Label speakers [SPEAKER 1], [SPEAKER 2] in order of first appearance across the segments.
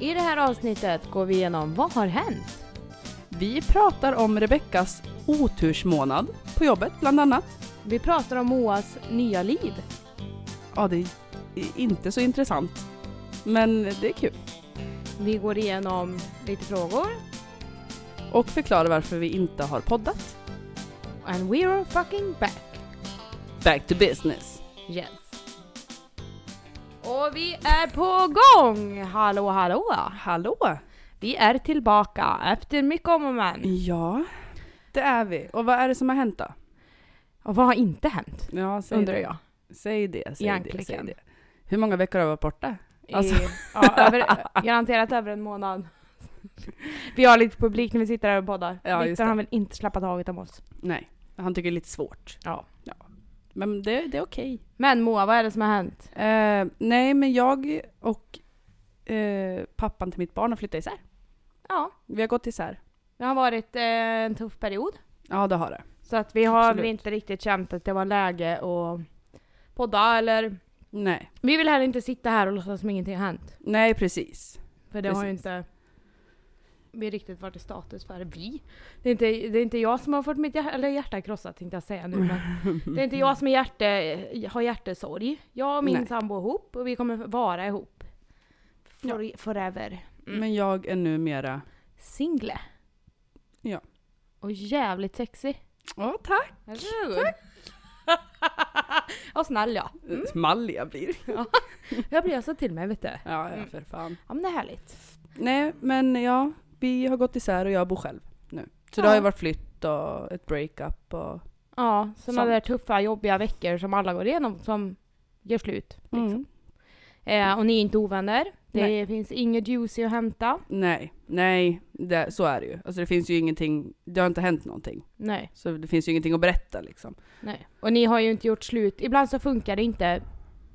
[SPEAKER 1] I det här avsnittet går vi igenom vad har hänt?
[SPEAKER 2] Vi pratar om Rebeckas otursmånad på jobbet bland annat.
[SPEAKER 1] Vi pratar om Moas nya liv.
[SPEAKER 2] Ja, det är inte så intressant. Men det är kul.
[SPEAKER 1] Vi går igenom lite frågor.
[SPEAKER 2] Och förklarar varför vi inte har poddat.
[SPEAKER 1] And we're fucking back.
[SPEAKER 2] Back to business.
[SPEAKER 1] Yes. Och vi är på gång! Hallå hallå!
[SPEAKER 2] Hallå!
[SPEAKER 1] Vi är tillbaka efter mycket om och men.
[SPEAKER 2] Ja, det är vi. Och vad är det som har hänt då?
[SPEAKER 1] Och vad har inte hänt?
[SPEAKER 2] Ja, säg
[SPEAKER 1] Undrar
[SPEAKER 2] det.
[SPEAKER 1] jag.
[SPEAKER 2] Säg det, säg det, säg
[SPEAKER 1] Egentligen.
[SPEAKER 2] det. Hur många veckor har vi varit borta?
[SPEAKER 1] I,
[SPEAKER 2] Alltså.
[SPEAKER 1] ja, över, garanterat över en månad. Vi har lite publik när vi sitter här och poddar.
[SPEAKER 2] Ja, just
[SPEAKER 1] Viktor
[SPEAKER 2] det.
[SPEAKER 1] har väl inte släppt taget om oss.
[SPEAKER 2] Nej, han tycker det är lite svårt.
[SPEAKER 1] Ja.
[SPEAKER 2] Men det, det är okej.
[SPEAKER 1] Men Moa, vad är det som har hänt?
[SPEAKER 2] Eh, nej, men jag och eh, pappan till mitt barn har flyttat isär.
[SPEAKER 1] Ja,
[SPEAKER 2] Vi har gått isär.
[SPEAKER 1] det har varit eh, en tuff period.
[SPEAKER 2] Ja, det har det.
[SPEAKER 1] Så att vi har väl
[SPEAKER 2] Absolut.
[SPEAKER 1] inte riktigt känt att det var läge att podda eller...
[SPEAKER 2] Nej,
[SPEAKER 1] Vi vill heller inte sitta här och låtsas som ingenting har hänt.
[SPEAKER 2] nej precis.
[SPEAKER 1] För det har ju
[SPEAKER 2] Precis.
[SPEAKER 1] inte vi riktigt varit i status för. Vi? Det är inte, det är inte jag som har fått mitt hjärta, eller hjärta krossat tänkte jag säga nu men Det är inte jag som är hjärte, har hjärtesorg. Jag och min
[SPEAKER 2] Nej.
[SPEAKER 1] sambo är ihop och vi kommer vara ihop. For, Forever. Mm.
[SPEAKER 2] Men jag är numera...
[SPEAKER 1] Single.
[SPEAKER 2] Ja.
[SPEAKER 1] Och jävligt sexig.
[SPEAKER 2] Ja, tack!
[SPEAKER 1] Tack! och snäll ja.
[SPEAKER 2] Mm. Mallig jag blir.
[SPEAKER 1] Jag blir alltså till mig vet du.
[SPEAKER 2] Ja, ja,
[SPEAKER 1] Mm.
[SPEAKER 2] för fan.
[SPEAKER 1] Ja men det är härligt.
[SPEAKER 2] Nej, men ja, vi har gått isär och jag bor själv nu. Så det
[SPEAKER 1] Ja.
[SPEAKER 2] har ju varit flytt och ett breakup och...
[SPEAKER 1] Ja, sådana
[SPEAKER 2] Sånt.
[SPEAKER 1] där tuffa jobbiga veckor som alla går igenom som gör slut. Liksom.
[SPEAKER 2] Mm.
[SPEAKER 1] Eh, och ni är inte ovänner. Det
[SPEAKER 2] Nej.
[SPEAKER 1] finns inget juicy att hämta.
[SPEAKER 2] Nej, nej, det, så är det ju. Alltså det finns ju ingenting, det har inte hänt någonting.
[SPEAKER 1] Nej,
[SPEAKER 2] Så det finns ju ingenting att berätta liksom.
[SPEAKER 1] nej. Och ni har ju inte gjort slut. Ibland så funkar det inte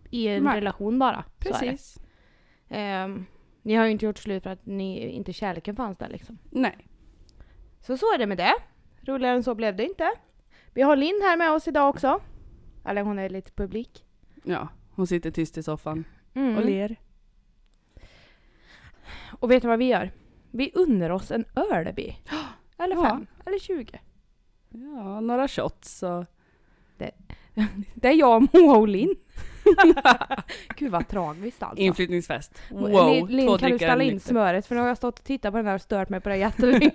[SPEAKER 1] i en
[SPEAKER 2] Nej.
[SPEAKER 1] relation bara. Så är det.
[SPEAKER 2] Precis.
[SPEAKER 1] Ehm, ni har ju inte gjort slut för att ni inte kärleken fanns där liksom.
[SPEAKER 2] Nej.
[SPEAKER 1] Så så är det med det. Roligare än så blev det inte. Vi har Linn här med oss idag också. Eller hon är lite publik.
[SPEAKER 2] Ja, hon sitter tyst i soffan
[SPEAKER 1] Mm.
[SPEAKER 2] och ler.
[SPEAKER 1] Och vet du vad vi gör? Vi unnar oss en öl vi. Eller
[SPEAKER 2] Ja.
[SPEAKER 1] fem, eller tjugo.
[SPEAKER 2] Ja, några shots och...
[SPEAKER 1] Det är jag, Moa och Linn. Gud vad tragiskt alltså. Mm.
[SPEAKER 2] Inflyttningsfest. Wow,
[SPEAKER 1] Lin- Lin,
[SPEAKER 2] två
[SPEAKER 1] kan du
[SPEAKER 2] drickare
[SPEAKER 1] ställa in
[SPEAKER 2] nykter.
[SPEAKER 1] smöret? För nu har jag stått och tittat på den där och stört mig på det jättelänge.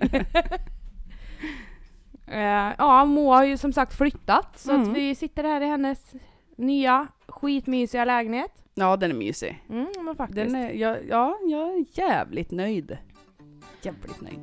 [SPEAKER 1] Eh, ja, Moa har ju som sagt flyttat så
[SPEAKER 2] Mm.
[SPEAKER 1] att vi sitter här i hennes nya skitmysiga lägenhet.
[SPEAKER 2] Ja, den är mysig.
[SPEAKER 1] Mm, men faktiskt.
[SPEAKER 2] Den är, ja, ja, jag är jävligt nöjd. Jävligt nöjd.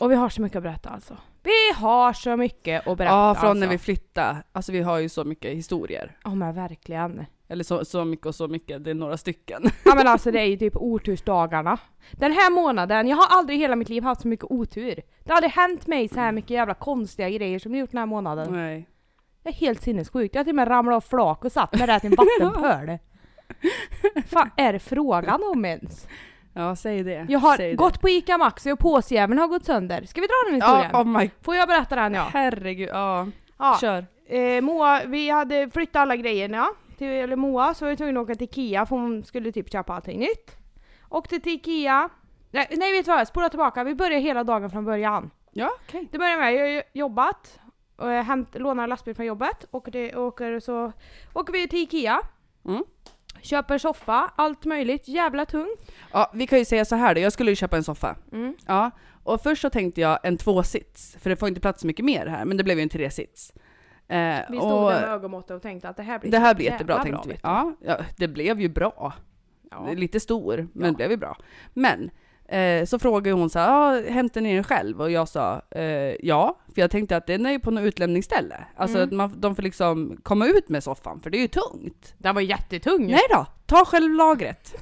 [SPEAKER 1] Och vi har så mycket att berätta alltså. Vi har så mycket att berätta
[SPEAKER 2] ja, från
[SPEAKER 1] alltså.
[SPEAKER 2] när vi flyttade. Alltså vi har ju så mycket historier.
[SPEAKER 1] Ja men verkligen.
[SPEAKER 2] Eller så, så mycket och så mycket, det är några stycken.
[SPEAKER 1] Ja men alltså det är ju typ otursdagarna. Den här månaden, jag har aldrig i hela mitt liv haft så mycket otur. Det har aldrig hänt mig så här mycket jävla konstiga grejer som jag gjort den här månaden.
[SPEAKER 2] Nej.
[SPEAKER 1] Det är helt sinnessjukt. Jag till och med ramlade av flak och satt mig där till en vattenpöl. Fan är det frågan om ens?
[SPEAKER 2] Ja, säg det.
[SPEAKER 1] Jag har
[SPEAKER 2] säg
[SPEAKER 1] gått på ICA Maxi och påsjäveln har gått sönder. Ska vi dra den
[SPEAKER 2] det.
[SPEAKER 1] historien?
[SPEAKER 2] Ja, oh my
[SPEAKER 1] Får jag berätta den ja?
[SPEAKER 2] herregud. Ja,
[SPEAKER 1] ja.
[SPEAKER 2] kör.
[SPEAKER 1] Eh, Moa, vi hade flyttat alla grejerna. Till, eller Moa, så var vi tvungna att åka till Ikea för hon skulle typ köpa allting nytt. Åkte till Ikea. Nej, nej vet du vad? Spola tillbaka. Vi börjar hela dagen från början.
[SPEAKER 2] Ja, okej.
[SPEAKER 1] Det börjar med att jag har ju jobbat, och jag hämt, lånar lastbil från jobbet, åker, till, åker, så, åker vi till Ikea.
[SPEAKER 2] Mm.
[SPEAKER 1] Köper soffa, allt möjligt, jävla tungt.
[SPEAKER 2] Ja, vi kan ju säga så här då. Jag skulle ju köpa en soffa.
[SPEAKER 1] Mm.
[SPEAKER 2] Ja, och först så tänkte jag en tvåsits, för det får inte plats så mycket mer här, men det blev ju en tresits. Eh,
[SPEAKER 1] Vi stod där med ögonmåttet och tänkte att det här blir
[SPEAKER 2] det här blir
[SPEAKER 1] jävla
[SPEAKER 2] jättebra tänkte vi.
[SPEAKER 1] vet du.
[SPEAKER 2] Ja, ja, det blev ju bra.
[SPEAKER 1] Ja.
[SPEAKER 2] Lite stor, men
[SPEAKER 1] Ja.
[SPEAKER 2] det blev ju bra. Men eh, så frågade hon så här, ah, hämtar ni den själv? Och jag sa eh, ja, för jag tänkte att den är ju på något utlämningsställe. Alltså
[SPEAKER 1] Mm.
[SPEAKER 2] att man, de får liksom komma ut med soffan, för det är ju tungt.
[SPEAKER 1] Den var jättetung!
[SPEAKER 2] Nej då, ta själv lagret.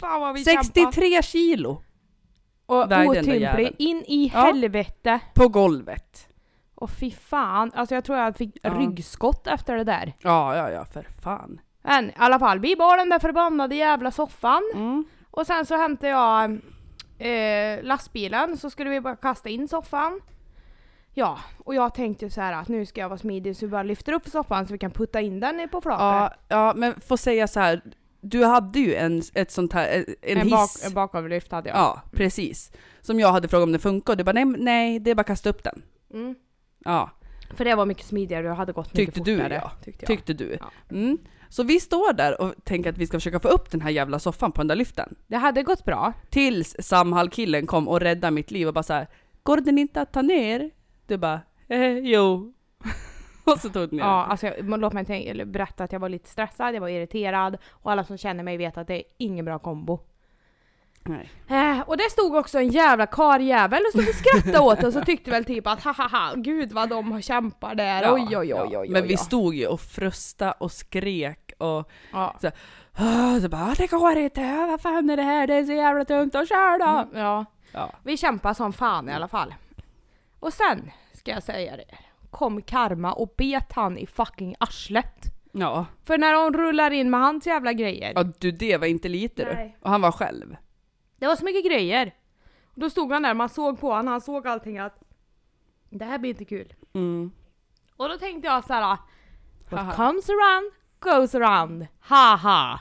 [SPEAKER 1] Fan vad vi kämpade!
[SPEAKER 2] 63 kilo
[SPEAKER 1] Och
[SPEAKER 2] Där är den där
[SPEAKER 1] otymplig,
[SPEAKER 2] jäveln.
[SPEAKER 1] in i
[SPEAKER 2] Ja.
[SPEAKER 1] helvete!
[SPEAKER 2] på golvet.
[SPEAKER 1] Och fy fan, alltså jag tror jag fick
[SPEAKER 2] Ja.
[SPEAKER 1] ryggskott efter det där.
[SPEAKER 2] Ja, ja, ja, för fan.
[SPEAKER 1] Men i alla fall, vi bar den där förbannade jävla soffan.
[SPEAKER 2] Mm.
[SPEAKER 1] Och sen så hämtade jag eh, lastbilen, så skulle vi bara kasta in soffan. Ja, och jag tänkte ju så här att nu ska jag vara smidig så vi bara lyfter upp soffan så vi kan putta in den på flaket.
[SPEAKER 2] Ja, ja, men får säga så här. Du hade ju en, ett sånt här, en, en
[SPEAKER 1] en,
[SPEAKER 2] hiss.
[SPEAKER 1] bak, en bakavlyft hade jag.
[SPEAKER 2] Ja, precis. Som jag hade frågat om det funkar och du bara nej, men- nej, det är bara att kasta upp den.
[SPEAKER 1] Mm.
[SPEAKER 2] Ja,
[SPEAKER 1] För det var mycket smidigare och hade gått mycket
[SPEAKER 2] Tyckte du,
[SPEAKER 1] fortare.
[SPEAKER 2] ja.
[SPEAKER 1] Tyckte jag.
[SPEAKER 2] tyckte du.
[SPEAKER 1] Ja.
[SPEAKER 2] Mm. Så vi står där och tänker att vi ska försöka få upp den här jävla soffan på den där lyften.
[SPEAKER 1] det hade gått bra.
[SPEAKER 2] Tills Samhall-killen kom och räddade mitt liv och bara så här, går den inte att ta ner? Du bara, eh, jo. och så tog den ner
[SPEAKER 1] Ja, alltså jag, men låt mig tänka, eller berätta att jag var lite stressad, jag var irriterad och alla som känner mig vet att det är ingen bra kombo.
[SPEAKER 2] den. Nej.
[SPEAKER 1] Eh, och det stod också en jävla karjävel och stod och skrattade åt oss och tyckte väl typ att hahaha, gud vad de har kämpar där,
[SPEAKER 2] Ja,
[SPEAKER 1] oj oj oj
[SPEAKER 2] ja.
[SPEAKER 1] oj. oj
[SPEAKER 2] Men vi
[SPEAKER 1] ja.
[SPEAKER 2] stod ju och frösta och skrek och
[SPEAKER 1] Ja.
[SPEAKER 2] "Ah", så bara det går inte, vad fan är det här, det är så jävla tungt, och kör då!
[SPEAKER 1] Ja, ja,
[SPEAKER 2] Ja.
[SPEAKER 1] vi kämpar som fan i alla fall. Och sen, ska jag säga det, kom Karma och bet han i fucking arslet.
[SPEAKER 2] ja.
[SPEAKER 1] För när hon rullar in med hans jävla grejer,
[SPEAKER 2] Ja du det var inte lite
[SPEAKER 1] Nej.
[SPEAKER 2] du. Och han var själv.
[SPEAKER 1] det var så mycket grejer. Och då stod han där, man såg på honom, han såg allting att det här blir inte kul.
[SPEAKER 2] Mm.
[SPEAKER 1] Och då tänkte jag såhär,
[SPEAKER 2] Haha.
[SPEAKER 1] what comes around goes around, haha.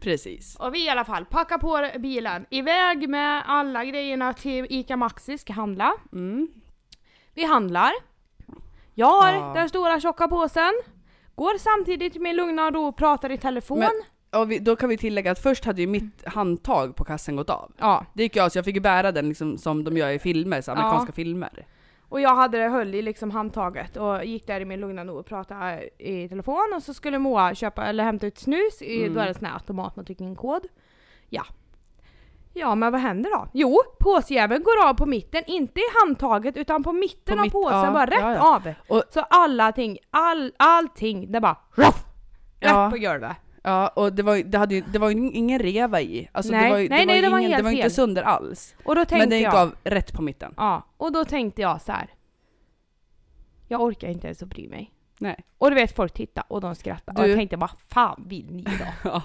[SPEAKER 2] Precis.
[SPEAKER 1] Och vi i alla fall packar på bilen, iväg med alla grejerna till ICA Maxi, ska handla.
[SPEAKER 2] Mm.
[SPEAKER 1] Vi handlar. Jag har
[SPEAKER 2] Ja.
[SPEAKER 1] den stora tjocka påsen. Går samtidigt med min lugna och ro och pratar i telefon.
[SPEAKER 2] Men- Och vi, då kan vi tillägga att först hade ju mitt
[SPEAKER 1] Mm.
[SPEAKER 2] handtag på kassen gått av.
[SPEAKER 1] ja.
[SPEAKER 2] Det gick ju av så jag fick ju bära den liksom som de gör i filmer, så amerikanska
[SPEAKER 1] Ja.
[SPEAKER 2] filmer.
[SPEAKER 1] Och jag hade det höll i liksom handtaget och gick där i min lugna och ro och pratade eh, i telefon och så skulle Moa köpa eller hämta ut snus i,
[SPEAKER 2] Mm.
[SPEAKER 1] då är det sån här automat man trycker in kod. Ja. Ja men vad händer då? Jo, påsjäveln går av på mitten, inte i handtaget utan på mitten
[SPEAKER 2] På
[SPEAKER 1] av
[SPEAKER 2] mitt-
[SPEAKER 1] påsen,
[SPEAKER 2] ja,
[SPEAKER 1] bara rätt
[SPEAKER 2] ja, ja.
[SPEAKER 1] av.
[SPEAKER 2] Och-
[SPEAKER 1] så alla ting, all, allting, det bara ruff,
[SPEAKER 2] Ja.
[SPEAKER 1] rätt på golvet.
[SPEAKER 2] Ja, och det var ju, det hade ju, det var ju ingen reva i. Alltså
[SPEAKER 1] Nej.
[SPEAKER 2] det var ju,
[SPEAKER 1] Nej,
[SPEAKER 2] det var
[SPEAKER 1] nej,
[SPEAKER 2] ju
[SPEAKER 1] det var
[SPEAKER 2] ingen, det
[SPEAKER 1] helt
[SPEAKER 2] var ju inte
[SPEAKER 1] fel.
[SPEAKER 2] sönder alls.
[SPEAKER 1] Och då tänkte
[SPEAKER 2] Men den gick
[SPEAKER 1] jag,
[SPEAKER 2] av rätt på mitten.
[SPEAKER 1] Ja, och då tänkte jag så här. Jag orkar inte ens att bry mig.
[SPEAKER 2] Nej.
[SPEAKER 1] Och du vet folk tittar och de skrattar och
[SPEAKER 2] Du-
[SPEAKER 1] jag tänkte vad fan vill ni då?
[SPEAKER 2] Ja.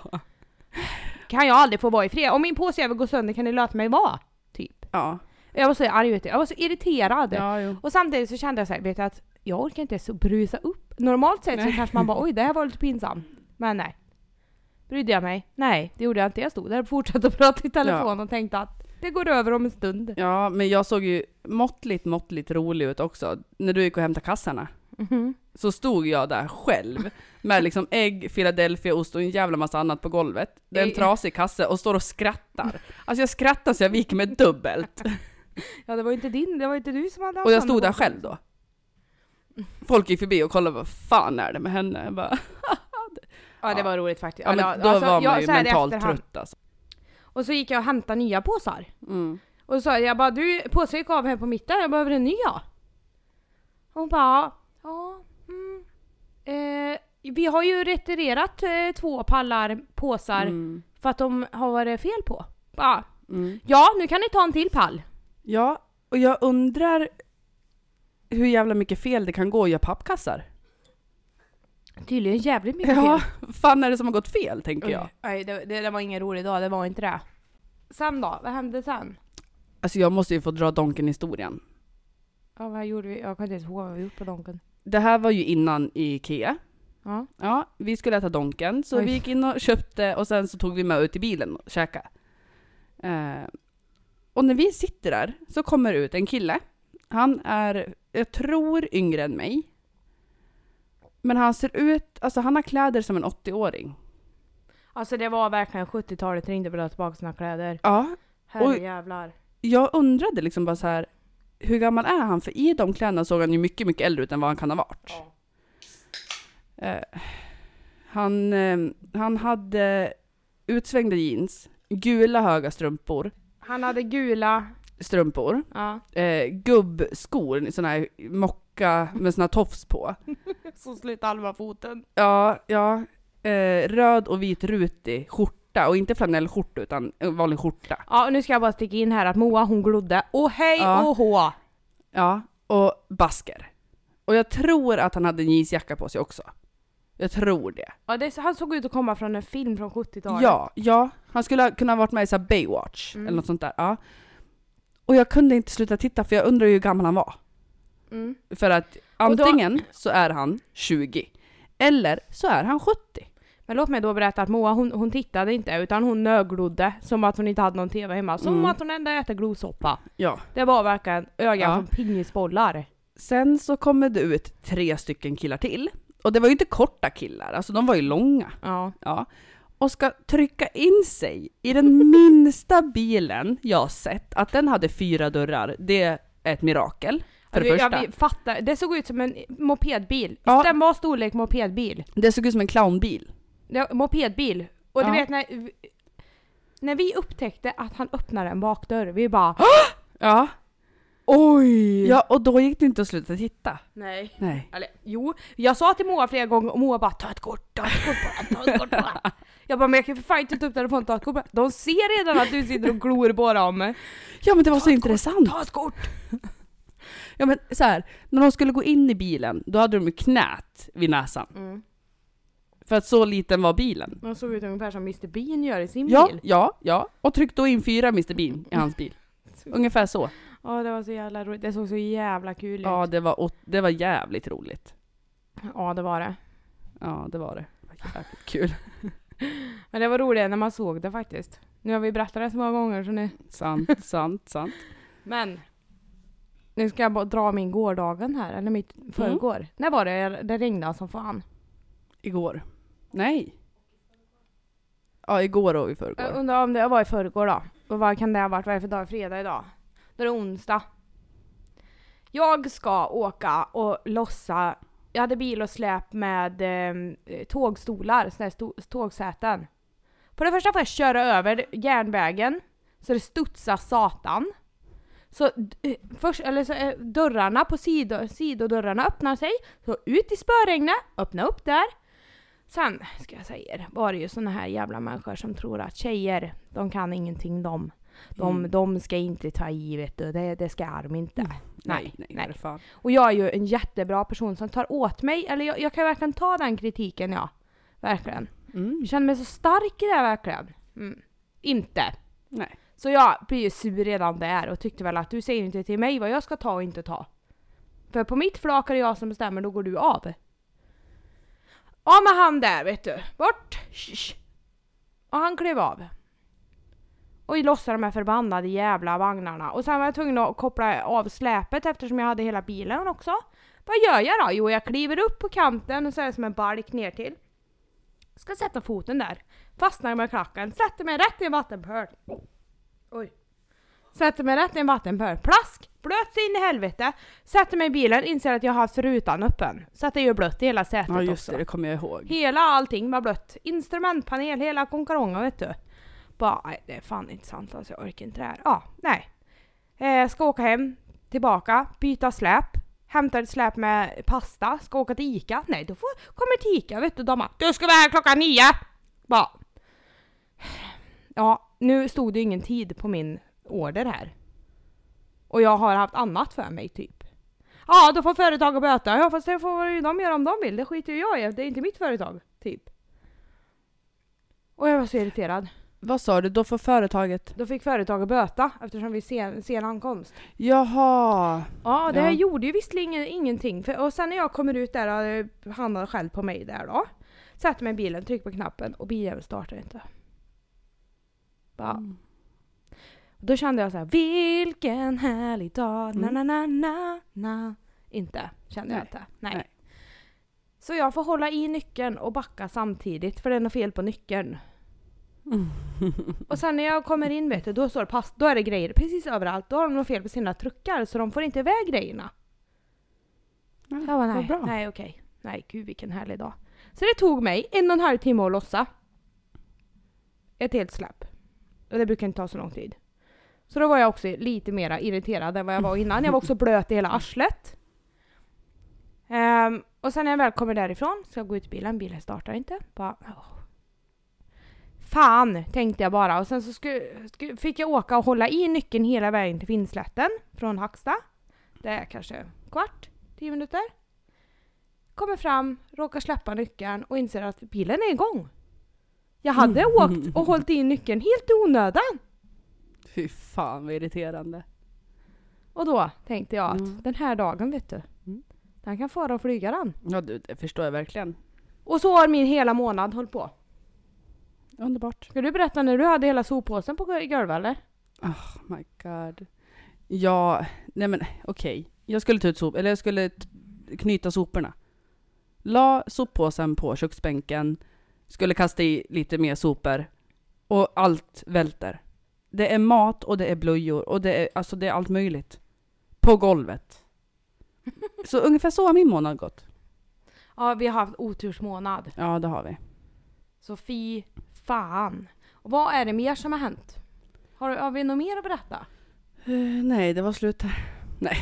[SPEAKER 1] Kan jag aldrig få vara i fred? Om min påse över går sönder kan ni låta mig vara? Typ.
[SPEAKER 2] Ja.
[SPEAKER 1] Jag var så arg vet du. jag var så irriterad.
[SPEAKER 2] Ja, jo.
[SPEAKER 1] Och samtidigt så kände jag så här, vet du att jag orkar inte ens att brusa upp. Normalt sett så kanske man bara oj det här var lite pinsamt. Men nej. Brydde jag mig? Nej, det gjorde jag inte. Jag stod där och fortsatte att prata i telefon och tänkte att det går över om en stund.
[SPEAKER 2] Ja, men jag såg ju måttligt, måttligt rolig ut också. När du gick och hämtade kassarna. Så stod jag där själv med liksom ägg, Philadelphiaost och en jävla massa annat på golvet. Det är en
[SPEAKER 1] Ej.
[SPEAKER 2] trasig kasse och står och skrattar. Alltså jag skrattar så jag viker mig dubbelt.
[SPEAKER 1] Ja det var ju inte din, det var ju inte du som hade haft
[SPEAKER 2] Och jag
[SPEAKER 1] handen
[SPEAKER 2] stod
[SPEAKER 1] på-
[SPEAKER 2] där själv då. Folk gick förbi och kollade vad fan är det med henne? Jag bara,
[SPEAKER 1] Ja det
[SPEAKER 2] Ja.
[SPEAKER 1] var roligt faktiskt.
[SPEAKER 2] ja, men
[SPEAKER 1] Eller,
[SPEAKER 2] då
[SPEAKER 1] alltså,
[SPEAKER 2] var man
[SPEAKER 1] jag-
[SPEAKER 2] ju
[SPEAKER 1] så här i
[SPEAKER 2] mentalt
[SPEAKER 1] efterhand.
[SPEAKER 2] trött alltså.
[SPEAKER 1] Och så gick jag och hämtade nya påsar.
[SPEAKER 2] Mm.
[SPEAKER 1] Och så sa jag bara du, påsen gick av här på mitten, jag behöver en ny ja. Och hon bara ja, mm. eh, Vi har ju retirerat eh, två pallar påsar
[SPEAKER 2] Mm.
[SPEAKER 1] för att de har varit fel på. Bara,
[SPEAKER 2] Mm.
[SPEAKER 1] ja nu kan ni ta en till pall.
[SPEAKER 2] Ja, och jag undrar hur jävla mycket fel det kan gå att göra pappkassar.
[SPEAKER 1] Tydligen jävligt mycket
[SPEAKER 2] Ja,
[SPEAKER 1] fel.
[SPEAKER 2] fan är det som har gått fel tänker
[SPEAKER 1] Oj.
[SPEAKER 2] jag.
[SPEAKER 1] Nej det, det, det var ingen rolig dag, det var inte det. Sen då, vad hände sen?
[SPEAKER 2] Alltså jag måste ju få dra Donken-historien.
[SPEAKER 1] Ja vad gjorde vi? Jag kan inte ens ihåg vad vi gjort på Donken.
[SPEAKER 2] Det här var ju innan Ikea.
[SPEAKER 1] Ja.
[SPEAKER 2] Ja, vi skulle äta Donken, så
[SPEAKER 1] Oj.
[SPEAKER 2] vi gick in och köpte och sen så tog vi med ut i bilen och käkade. Eh, och när vi sitter där så kommer ut en kille. Han är, jag tror, yngre än mig. Men han ser ut, alltså han har kläder som en 80-åring.
[SPEAKER 1] Alltså det var verkligen 70-talet ringde på att tillbaka sina kläder.
[SPEAKER 2] Ja, Oj.
[SPEAKER 1] Herrejävlar.
[SPEAKER 2] jag undrade liksom bara så här, hur gammal är han? För i de kläderna såg han ju mycket, mycket äldre ut än vad han kan ha varit.
[SPEAKER 1] Ja.
[SPEAKER 2] Eh, han, eh, han hade utsvängda jeans, gula höga strumpor,
[SPEAKER 1] Han hade gula,
[SPEAKER 2] strumpor
[SPEAKER 1] ja.
[SPEAKER 2] eh, gubbskor, sådana här mocka med såna här tofs på.
[SPEAKER 1] Så slut halva foten.
[SPEAKER 2] Ja, ja. Eh, röd och vit rutig skjorta, och inte flanellskjorta utan en vanlig skjorta.
[SPEAKER 1] Ja och nu ska jag bara sticka in här att Moa hon glodde. Och hej
[SPEAKER 2] Ja.
[SPEAKER 1] och hå!
[SPEAKER 2] Ja, och basker. Och jag tror att han hade en jeansjacka på sig också. Jag tror det.
[SPEAKER 1] Ja, det, han såg ut att komma från en film från 70-talet.
[SPEAKER 2] Ja, ja. Han skulle ha kunnat varit med i så här Baywatch
[SPEAKER 1] Mm.
[SPEAKER 2] eller något sånt där. Ja. Och jag kunde inte sluta titta för jag undrar ju hur gammal han var.
[SPEAKER 1] Mm.
[SPEAKER 2] För att
[SPEAKER 1] Och då-
[SPEAKER 2] antingen så är han 20 eller så är han 70.
[SPEAKER 1] Men låt mig då berätta att Moa hon, hon tittade inte utan hon nöglodde som att hon inte hade någon TV hemma. Som
[SPEAKER 2] Mm.
[SPEAKER 1] att hon ändå äter glosoppa.
[SPEAKER 2] Ja.
[SPEAKER 1] Det var verkligen ögon
[SPEAKER 2] Ja.
[SPEAKER 1] som pingisbollar.
[SPEAKER 2] Sen så kommer det ut tre stycken killar till. Och det var ju inte korta killar, alltså de var ju långa.
[SPEAKER 1] Ja.
[SPEAKER 2] Ja. Och ska trycka in sig i den minsta bilen jag sett. Att den hade fyra dörrar, det är ett mirakel. För det
[SPEAKER 1] jag,
[SPEAKER 2] första.
[SPEAKER 1] Jag fattar. Det såg ut som en mopedbil.
[SPEAKER 2] Ja.
[SPEAKER 1] Den var storlek mopedbil.
[SPEAKER 2] Det såg ut som en clownbil.
[SPEAKER 1] Det, mopedbil. Och du
[SPEAKER 2] Ja.
[SPEAKER 1] vet när, vi- när vi upptäckte att han öppnade en bakdörr, vi bara
[SPEAKER 2] Ja.
[SPEAKER 1] Oj!
[SPEAKER 2] Ja, och då gick det inte att sluta titta.
[SPEAKER 1] Nej.
[SPEAKER 2] Nej.
[SPEAKER 1] Eller jo, jag sa till Moa flera gånger och Moa bara ta ett kort, ta ett kort bara, ta ett kort bara. Jag bara men jag kan för fan inte ta upp telefonen, ta ett kort bara. De ser redan att du sitter och glor på dem.
[SPEAKER 2] Ja men det var så
[SPEAKER 1] Ta ett
[SPEAKER 2] intressant.
[SPEAKER 1] Ta ett kort!
[SPEAKER 2] Ja men så här, när de skulle gå in i bilen, då hade de ju knät vid näsan.
[SPEAKER 1] Mm.
[SPEAKER 2] För att så liten var bilen.
[SPEAKER 1] De såg ut ungefär som Mr Bean gör i sin
[SPEAKER 2] Ja,
[SPEAKER 1] bil.
[SPEAKER 2] ja, ja. Och tryckte då in fyra Mr Bean i hans bil. Ungefär så.
[SPEAKER 1] Ja det var så jävla roligt, det såg så jävla kul ut.
[SPEAKER 2] Ja, det var, åt- det var jävligt roligt.
[SPEAKER 1] ja det var det.
[SPEAKER 2] Ja, det var det. Jävligt kul.
[SPEAKER 1] Men det var roligt när man såg det faktiskt. Nu har vi berättat det så många gånger så nu.
[SPEAKER 2] Sant, sant, sant.
[SPEAKER 1] Men. Nu ska jag bara dra min gårdagen här, eller mitt förrgår. När var det det regnade som fan?
[SPEAKER 2] Igår. Nej. Ja, igår och i
[SPEAKER 1] Jag
[SPEAKER 2] förrgår.
[SPEAKER 1] undrar om det var i förrgår då. Och vad kan det ha varit? Vad är det för dag? Fredag idag? Då är det onsdag. Jag ska åka och lossa. Jag hade bil och släp med eh, tågstolar, såna här sto- tågsäten. På det första får jag köra över järnvägen så det studsar satan. Så, d- först, eller så eh, dörrarna på sido, sidodörrarna öppnar sig, så ut i spöregnet, öppna upp där. Sen, ska jag säga er, var det ju såna här jävla människor som tror att tjejer, de kan ingenting de. De,
[SPEAKER 2] Mm.
[SPEAKER 1] de ska inte ta i vet du, det, det ska de inte.
[SPEAKER 2] Mm. Nej, nej,
[SPEAKER 1] nej.
[SPEAKER 2] nej. för Fan.
[SPEAKER 1] Och jag är ju en jättebra person som tar åt mig, eller jag, jag kan verkligen ta den kritiken ja. Verkligen.
[SPEAKER 2] Mm.
[SPEAKER 1] Jag känner mig så stark i det här verkligen. Mm. Inte.
[SPEAKER 2] Nej.
[SPEAKER 1] Så jag blir ju sur redan där och tyckte väl att du säger inte till mig vad jag ska ta och inte ta. För på mitt flak är det jag som bestämmer, då går du av. Av med han där vet du. Bort! Shish. Och han klev av. Och lossade de här förbannade jävla vagnarna. Och sen var jag tvungen att koppla av släpet eftersom jag hade hela bilen också. Vad gör jag då? Jo, jag kliver upp på kanten och så är det som en balk ner till. Ska sätta foten där. Fastnar med klacken, sätter mig rätt i en vattenpöl. Oj. Sätter mig rätt i en vattenpöl. Plask! Blöt så in i helvete. Sätter mig i bilen, inser att jag har haft rutan öppen. Så att det är ju blött i hela sätet
[SPEAKER 2] Ja, just
[SPEAKER 1] också.
[SPEAKER 2] det. Det kommer jag ihåg.
[SPEAKER 1] Hela allting var blött. Instrumentpanel, hela konkarongen vet du. Bara, nej det är fan inte sant alltså, jag orkar inte det här. Ja, nej. Eh, ska åka hem, tillbaka, byta släp. Hämtar ett släp med pasta, ska åka till ICA. Nej, då får, kommer till ICA vet du, de bara, Du ska vara här klockan nio! Bara. Ja, nu stod det ju ingen tid på min order här. Och jag har haft annat för mig typ. Ja, då får företaget böta. Ja, fast det får ju de göra om de vill. Det skiter ju jag i. Det är inte mitt företag. Typ. Och jag var så irriterad.
[SPEAKER 2] Vad sa du? Då får företaget...
[SPEAKER 1] Då fick företaget böta eftersom vi sen, sen ankomst.
[SPEAKER 2] Jaha.
[SPEAKER 1] Ja, det här
[SPEAKER 2] Ja.
[SPEAKER 1] gjorde ju visserligen ingen- ingenting. För, och sen när jag kommer ut där, eh, han har skällt på mig där då. Sätter mig i bilen, trycker på knappen och biljäveln startar inte. Bara,
[SPEAKER 2] Mm.
[SPEAKER 1] Då kände jag så här, vilken härlig dag, na na na na na. Inte, kände jag
[SPEAKER 2] Mm. Nej.
[SPEAKER 1] inte. Nej.
[SPEAKER 2] Nej.
[SPEAKER 1] Så jag får hålla i nyckeln och backa samtidigt för det är något fel på nyckeln. och sen när jag kommer in vet du, då står det pass, då är det grejer precis överallt. Då har de något fel på sina truckar så de får inte iväg grejerna.
[SPEAKER 2] Ja,
[SPEAKER 1] Jag bara,
[SPEAKER 2] Mm, vad
[SPEAKER 1] nej,
[SPEAKER 2] bra.
[SPEAKER 1] nej okej. Nej gud vilken härlig dag. Så det tog mig en och en halv timme att lossa. Ett helt släpp. Och det brukar inte ta så lång tid. Så då var jag också lite mer irriterad än vad jag var innan. Jag var också blöt i hela arslet. Ehm, och sen när jag väl kommer därifrån ska jag gå ut i bilen, bilen startar inte. Bara, åh. Fan, tänkte jag bara. Och sen så sku, sku, fick jag åka och hålla i nyckeln hela vägen till Finnslätten från Hacksta. Det är kanske kvart, tio minuter. Kommer fram, råkar släppa nyckeln och inser att bilen är igång. Jag hade
[SPEAKER 2] Mm.
[SPEAKER 1] åkt och hållit i nyckeln helt i onödan.
[SPEAKER 2] Fy fan vad irriterande.
[SPEAKER 1] Och då tänkte jag att
[SPEAKER 2] Mm.
[SPEAKER 1] den här dagen vet du,
[SPEAKER 2] Mm.
[SPEAKER 1] den kan fara och flyga den.
[SPEAKER 2] Ja, du, det förstår jag verkligen.
[SPEAKER 1] Och så har min hela månad hållit på.
[SPEAKER 2] Underbart.
[SPEAKER 1] Ska du berätta när du hade hela soppåsen på golvet eller?
[SPEAKER 2] Oh my god. Ja, nej men okej. Jag skulle ta ut sop, eller jag skulle t- knyta soporna. La soppåsen på köksbänken, skulle kasta i lite mer sopor och allt välter. Det är mat och det är blöjor och det är, alltså det är allt möjligt. På golvet. Så ungefär så har min månad gått.
[SPEAKER 1] Ja, vi har haft otursmånad.
[SPEAKER 2] Ja, det har vi.
[SPEAKER 1] Så fy fan. Och vad är det mer som har hänt? Har, har vi något mer att berätta?
[SPEAKER 2] Eh, nej, det var slut här. Nej.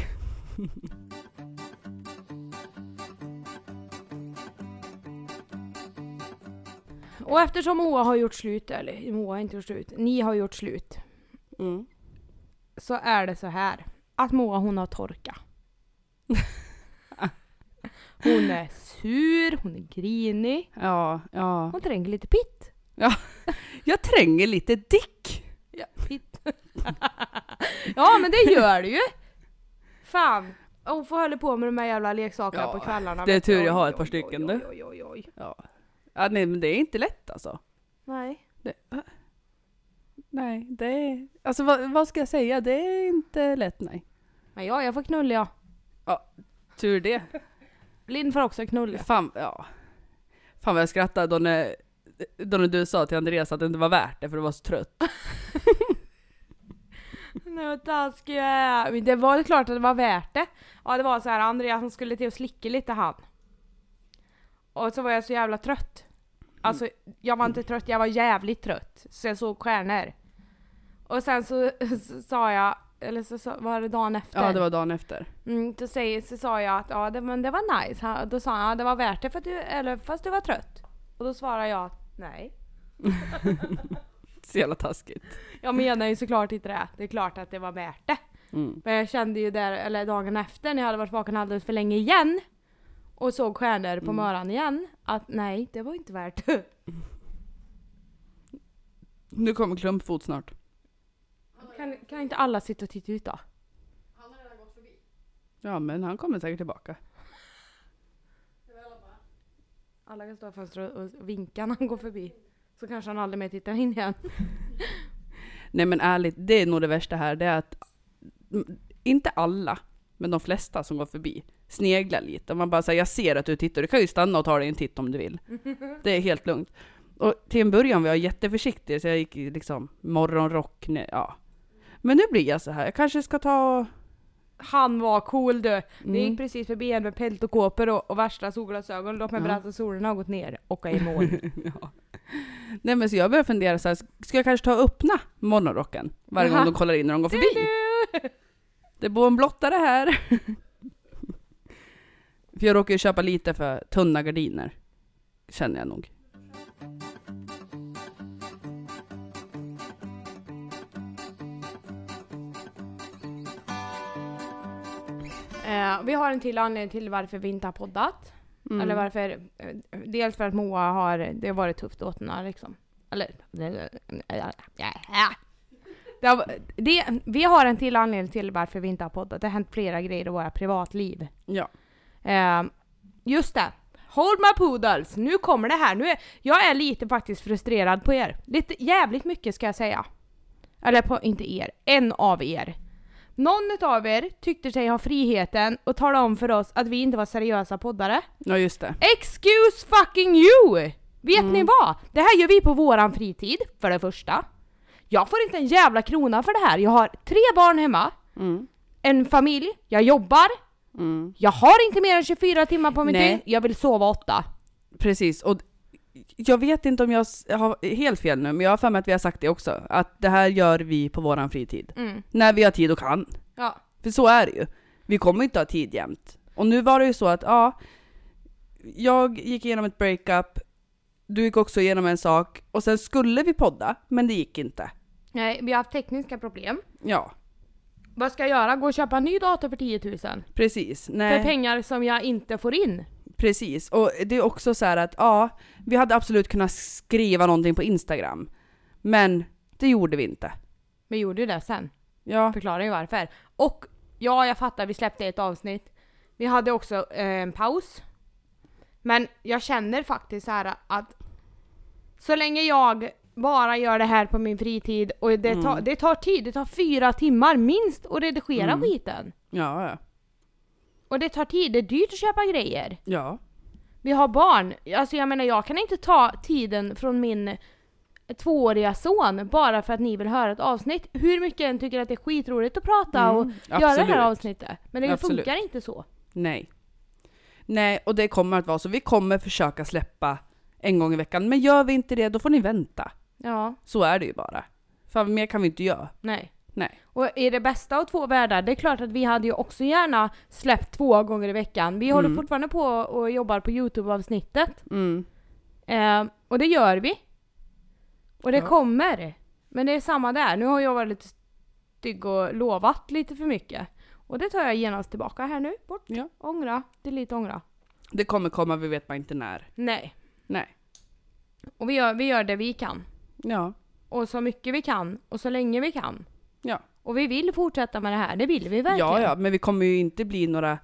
[SPEAKER 1] Och eftersom Moa har gjort slut, eller Moa har inte gjort slut, ni har gjort slut.
[SPEAKER 2] Mm.
[SPEAKER 1] Så är det så här att Moa hon har torka. Hon är sur, hon är grinig,
[SPEAKER 2] Ja, ja.
[SPEAKER 1] hon tränger lite pitt.
[SPEAKER 2] Jag tränger lite dick.
[SPEAKER 1] Ja, pitt. ja men det gör du ju! Fan! Hon får hålla på med de här jävla leksakerna
[SPEAKER 2] Ja,
[SPEAKER 1] på kvällarna.
[SPEAKER 2] det är
[SPEAKER 1] vet du.
[SPEAKER 2] tur jag har
[SPEAKER 1] Oj,
[SPEAKER 2] ett par
[SPEAKER 1] oj,
[SPEAKER 2] stycken,
[SPEAKER 1] oj,
[SPEAKER 2] du.
[SPEAKER 1] oj, oj, oj.
[SPEAKER 2] Ja, nej, men det är inte lätt alltså.
[SPEAKER 1] Nej.
[SPEAKER 2] Nej, det är... Alltså vad, vad ska jag säga? Det är inte lätt, nej.
[SPEAKER 1] Men ja, jag får knulla jag.
[SPEAKER 2] Tur det.
[SPEAKER 1] Linn får också knulla.
[SPEAKER 2] Fan, ja. Fan vad jag skrattade då när, då när du sa till Andreas att det inte var värt det för du var så trött.
[SPEAKER 1] Nej vad taskig jag är. Men Det var klart att det var värt det. Ja det var så här Andreas som skulle till och slicka lite han. Och så var jag så jävla trött. Alltså jag var inte trött, jag var jävligt trött. Så jag såg stjärnor. Och sen så, så sa jag, eller så, så var det dagen efter.
[SPEAKER 2] Ja, det var dagen efter.
[SPEAKER 1] Mm, då säger, så sa jag att ja, det, men det var nice. Han, då sa han ja, det var värt det för att du, eller, fast du var trött. Och då svarade jag att nej.
[SPEAKER 2] Så jävla taskigt.
[SPEAKER 1] Jag menar ju såklart inte det. Det är klart att det var värt det.
[SPEAKER 2] Mm.
[SPEAKER 1] Men jag kände ju där, eller dagen efter när jag hade varit vaken alldeles för länge igen och såg stjärnor på
[SPEAKER 2] Mm.
[SPEAKER 1] morgonen igen, att nej, det var inte värt det.
[SPEAKER 2] Nu kommer klumpfot snart.
[SPEAKER 1] Kan, kan inte alla sitta och titta ut då?
[SPEAKER 2] Ja, men han kommer säkert tillbaka.
[SPEAKER 1] Alla kan stå i fönstret och, och vinka när han går förbi. Så kanske han aldrig mer tittar in igen.
[SPEAKER 2] Nej men ärligt, det är nog det värsta här. Det är att, m- inte alla, men de flesta som går förbi sneglar lite. Och man bara säger jag ser att du tittar, du kan ju stanna och ta dig en titt om du vill. Det är helt lugnt. Och till en början var jag jätteförsiktig, så jag gick i liksom morgonrock. ne- Ja. Men nu blir jag så här, jag kanske ska ta...
[SPEAKER 1] Han var cool du!
[SPEAKER 2] Mm.
[SPEAKER 1] Det gick precis förbi en med pält och kåpor och, och värsta solglasögon. Låt mig
[SPEAKER 2] Ja.
[SPEAKER 1] berätta, solen har gått ner och är i moln.
[SPEAKER 2] ja. Nej men så jag börjar fundera så här, ska jag kanske ta och öppna morgonrocken varje gång
[SPEAKER 1] Jaha.
[SPEAKER 2] de kollar in när de går
[SPEAKER 1] Du,
[SPEAKER 2] förbi?
[SPEAKER 1] du!
[SPEAKER 2] Det bor en blottare här. för jag råkar ju köpa lite för tunna gardiner. Känner jag nog.
[SPEAKER 1] Eh, vi har en till anledning till varför vi inte har poddat.
[SPEAKER 2] Mm.
[SPEAKER 1] Eller varför? eh, Dels för att Moa har, det har varit tufft åt henne liksom. Eller? Det har, det, vi har en till anledning till varför vi inte har poddat. Det har hänt flera grejer i våra privatliv.
[SPEAKER 2] Ja.
[SPEAKER 1] Eh, just det. Hold my poodles! Nu kommer det här. Nu är, jag är lite faktiskt frustrerad på er. Lite jävligt mycket ska jag säga. Eller på, inte er, en av er. Någon av er tyckte sig ha friheten att tala om för oss att vi inte var seriösa poddare.
[SPEAKER 2] ja, just det.
[SPEAKER 1] Excuse fucking you! Vet ni vad? Det här gör vi på våran fritid, för det första. Jag får inte en jävla krona för det här. Jag har tre barn hemma,
[SPEAKER 2] Mm.
[SPEAKER 1] en familj, jag jobbar,
[SPEAKER 2] Mm.
[SPEAKER 1] jag har inte mer än 24 timmar på mitt
[SPEAKER 2] Nej.
[SPEAKER 1] dygn, jag vill sova åtta.
[SPEAKER 2] Precis. Och jag vet inte om jag s- har helt fel nu, men jag har för mig att vi har sagt det också. Att det här gör vi på våran fritid. När vi har tid och kan.
[SPEAKER 1] Mm, Ja.
[SPEAKER 2] För så är det ju. Vi kommer inte ha tid jämt. Och nu var det ju så att, ja, jag gick igenom ett breakup, du gick också igenom en sak, och sen skulle vi podda, men det gick inte.
[SPEAKER 1] Nej, vi har haft tekniska problem.
[SPEAKER 2] Ja,
[SPEAKER 1] Vad ska jag göra? Gå och köpa en ny dator för 10 000?
[SPEAKER 2] precis.
[SPEAKER 1] För
[SPEAKER 2] Nej,
[SPEAKER 1] pengar som jag inte får in.
[SPEAKER 2] precis. Och det är också så här att, ja, vi hade absolut kunnat skriva någonting på Instagram, men det gjorde vi inte.
[SPEAKER 1] Men jag gjorde ju det sen.
[SPEAKER 2] Ja,
[SPEAKER 1] Förklarar ju varför. Och ja jag fattar, vi släppte ett avsnitt. Vi hade också eh, en paus. Men jag känner faktiskt så här att så länge jag bara gör det här på min fritid och det, tar, det tar tid, det tar fyra timmar minst att redigera
[SPEAKER 2] Mm.
[SPEAKER 1] skiten.
[SPEAKER 2] Ja, ja.
[SPEAKER 1] Och det tar tid, det är dyrt att köpa grejer.
[SPEAKER 2] Ja.
[SPEAKER 1] Vi har barn. Alltså jag menar jag kan inte ta tiden från min tvååriga son bara för att ni vill höra ett avsnitt. Hur mycket jag än tycker att det är skitroligt att prata och
[SPEAKER 2] Mm,
[SPEAKER 1] göra det
[SPEAKER 2] absolut.
[SPEAKER 1] här avsnittet. Men det
[SPEAKER 2] Absolut.
[SPEAKER 1] funkar inte så.
[SPEAKER 2] Nej. Nej, och det kommer att vara så. Vi kommer försöka släppa en gång i veckan. Men gör vi inte det, då får ni vänta.
[SPEAKER 1] Ja,
[SPEAKER 2] Så är det ju bara. För mer kan vi inte göra.
[SPEAKER 1] nej.
[SPEAKER 2] Nej.
[SPEAKER 1] Och i det bästa av två världar, det är klart att vi hade ju också gärna släppt två gånger i veckan. Vi håller
[SPEAKER 2] Mm.
[SPEAKER 1] fortfarande på och jobbar på Youtube-avsnittet.
[SPEAKER 2] Mm.
[SPEAKER 1] Eh, och det gör vi. Och det
[SPEAKER 2] Ja.
[SPEAKER 1] kommer. Men det är samma där. Nu har jag varit lite stygg och lovat lite för mycket. Och det tar jag genast tillbaka här nu. Bort.
[SPEAKER 2] Ja.
[SPEAKER 1] Ångra. Delete ångra.
[SPEAKER 2] Det kommer komma, vi vet bara inte när.
[SPEAKER 1] Nej.
[SPEAKER 2] Nej.
[SPEAKER 1] Och vi gör, vi gör det vi kan.
[SPEAKER 2] Ja.
[SPEAKER 1] Och så mycket vi kan. Och så länge vi kan.
[SPEAKER 2] Ja.
[SPEAKER 1] Och vi vill fortsätta med det här. Det vill vi verkligen.
[SPEAKER 2] Ja, ja, men vi kommer ju inte bli några,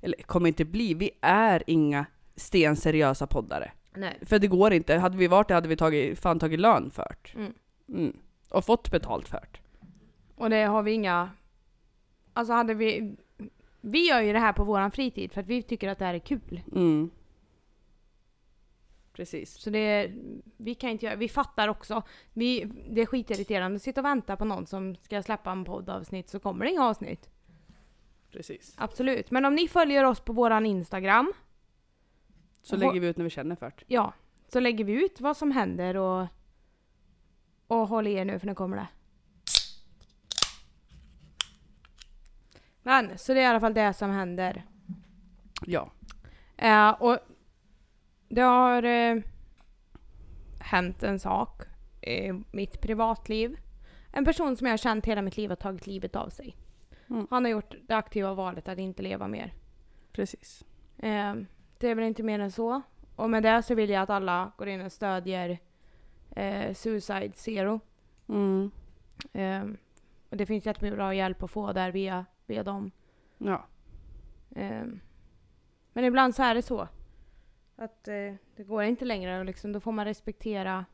[SPEAKER 2] eller kommer inte bli, vi är inga stenseriösa poddare.
[SPEAKER 1] Nej.
[SPEAKER 2] För det går inte. Hade vi varit det hade vi tagit, fan tagit lön fört.
[SPEAKER 1] Mm.
[SPEAKER 2] Mm. Och fått betalt fört.
[SPEAKER 1] Och det har vi inga... Alltså hade vi... Vi gör ju det här på våran fritid för att vi tycker att det här är kul.
[SPEAKER 2] Mm. Precis.
[SPEAKER 1] Så det... är- Vi kan inte göra... Vi fattar också. Vi, det är skitirriterande att sitta och vänta på någon som ska släppa en poddavsnitt så kommer det inga avsnitt.
[SPEAKER 2] Precis.
[SPEAKER 1] Absolut. Men om ni följer oss på våran Instagram,
[SPEAKER 2] Så
[SPEAKER 1] Och-
[SPEAKER 2] lägger vi ut när vi känner fört.
[SPEAKER 1] ja, så lägger vi ut vad som händer och... Och håll i er nu för nu kommer det. Men, så det är i alla fall det som händer.
[SPEAKER 2] Ja.
[SPEAKER 1] Eh, och det har eh, hänt en sak i mitt privatliv. En person som jag har känt hela mitt liv har tagit livet av sig.
[SPEAKER 2] Mm.
[SPEAKER 1] Han har gjort det aktiva valet att inte leva mer.
[SPEAKER 2] Precis.
[SPEAKER 1] Eh, det är väl inte mer än så. Och med det så vill jag att alla går in och stödjer eh, Suicide Zero.
[SPEAKER 2] Mm.
[SPEAKER 1] Eh, och det finns jättemycket bra hjälp att få där via, via dem.
[SPEAKER 2] Ja.
[SPEAKER 1] Ehm, Men ibland så är det så. Att eh, det går inte längre och liksom, då får man respektera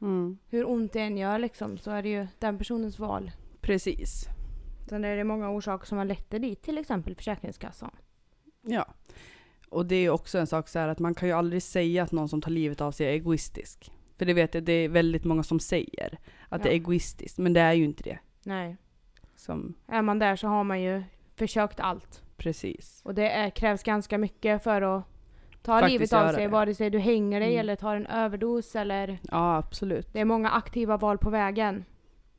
[SPEAKER 2] Mm.
[SPEAKER 1] hur ont det än gör liksom, så är det ju den personens val.
[SPEAKER 2] Precis.
[SPEAKER 1] Sen är det många orsaker som har lett det dit, till exempel Försäkringskassan.
[SPEAKER 2] Ja. Och det är ju också en sak så här att man kan ju aldrig säga att någon som tar livet av sig är egoistisk. För det vet jag, det är väldigt många som säger att det är
[SPEAKER 1] Ja.
[SPEAKER 2] egoistiskt, men det är ju inte det.
[SPEAKER 1] Nej.
[SPEAKER 2] Som,
[SPEAKER 1] Är man där så har man ju försökt allt.
[SPEAKER 2] precis.
[SPEAKER 1] Och det är, krävs ganska mycket för att ta
[SPEAKER 2] Faktiskt
[SPEAKER 1] livet av
[SPEAKER 2] göra
[SPEAKER 1] sig,
[SPEAKER 2] det.
[SPEAKER 1] vare sig du hänger dig
[SPEAKER 2] Mm.
[SPEAKER 1] eller tar en överdos eller...
[SPEAKER 2] Ja, absolut.
[SPEAKER 1] Det är många aktiva val på vägen.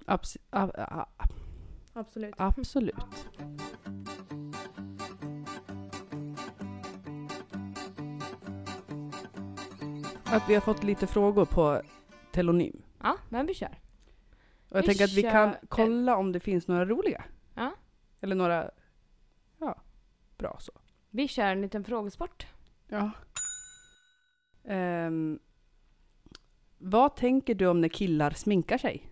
[SPEAKER 2] Abs- a- a- a-
[SPEAKER 1] Absolut.
[SPEAKER 2] absolut. Att vi har fått lite frågor på telonym.
[SPEAKER 1] Ja, men vi kör.
[SPEAKER 2] Och jag
[SPEAKER 1] Vi
[SPEAKER 2] tänker att vi
[SPEAKER 1] kör
[SPEAKER 2] kan
[SPEAKER 1] en.
[SPEAKER 2] kolla om det finns några roliga.
[SPEAKER 1] Ja.
[SPEAKER 2] Eller några, ja, bra så.
[SPEAKER 1] Vi kör en liten frågesport.
[SPEAKER 2] Ja. Ehm, vad tänker du om när killar sminkar sig?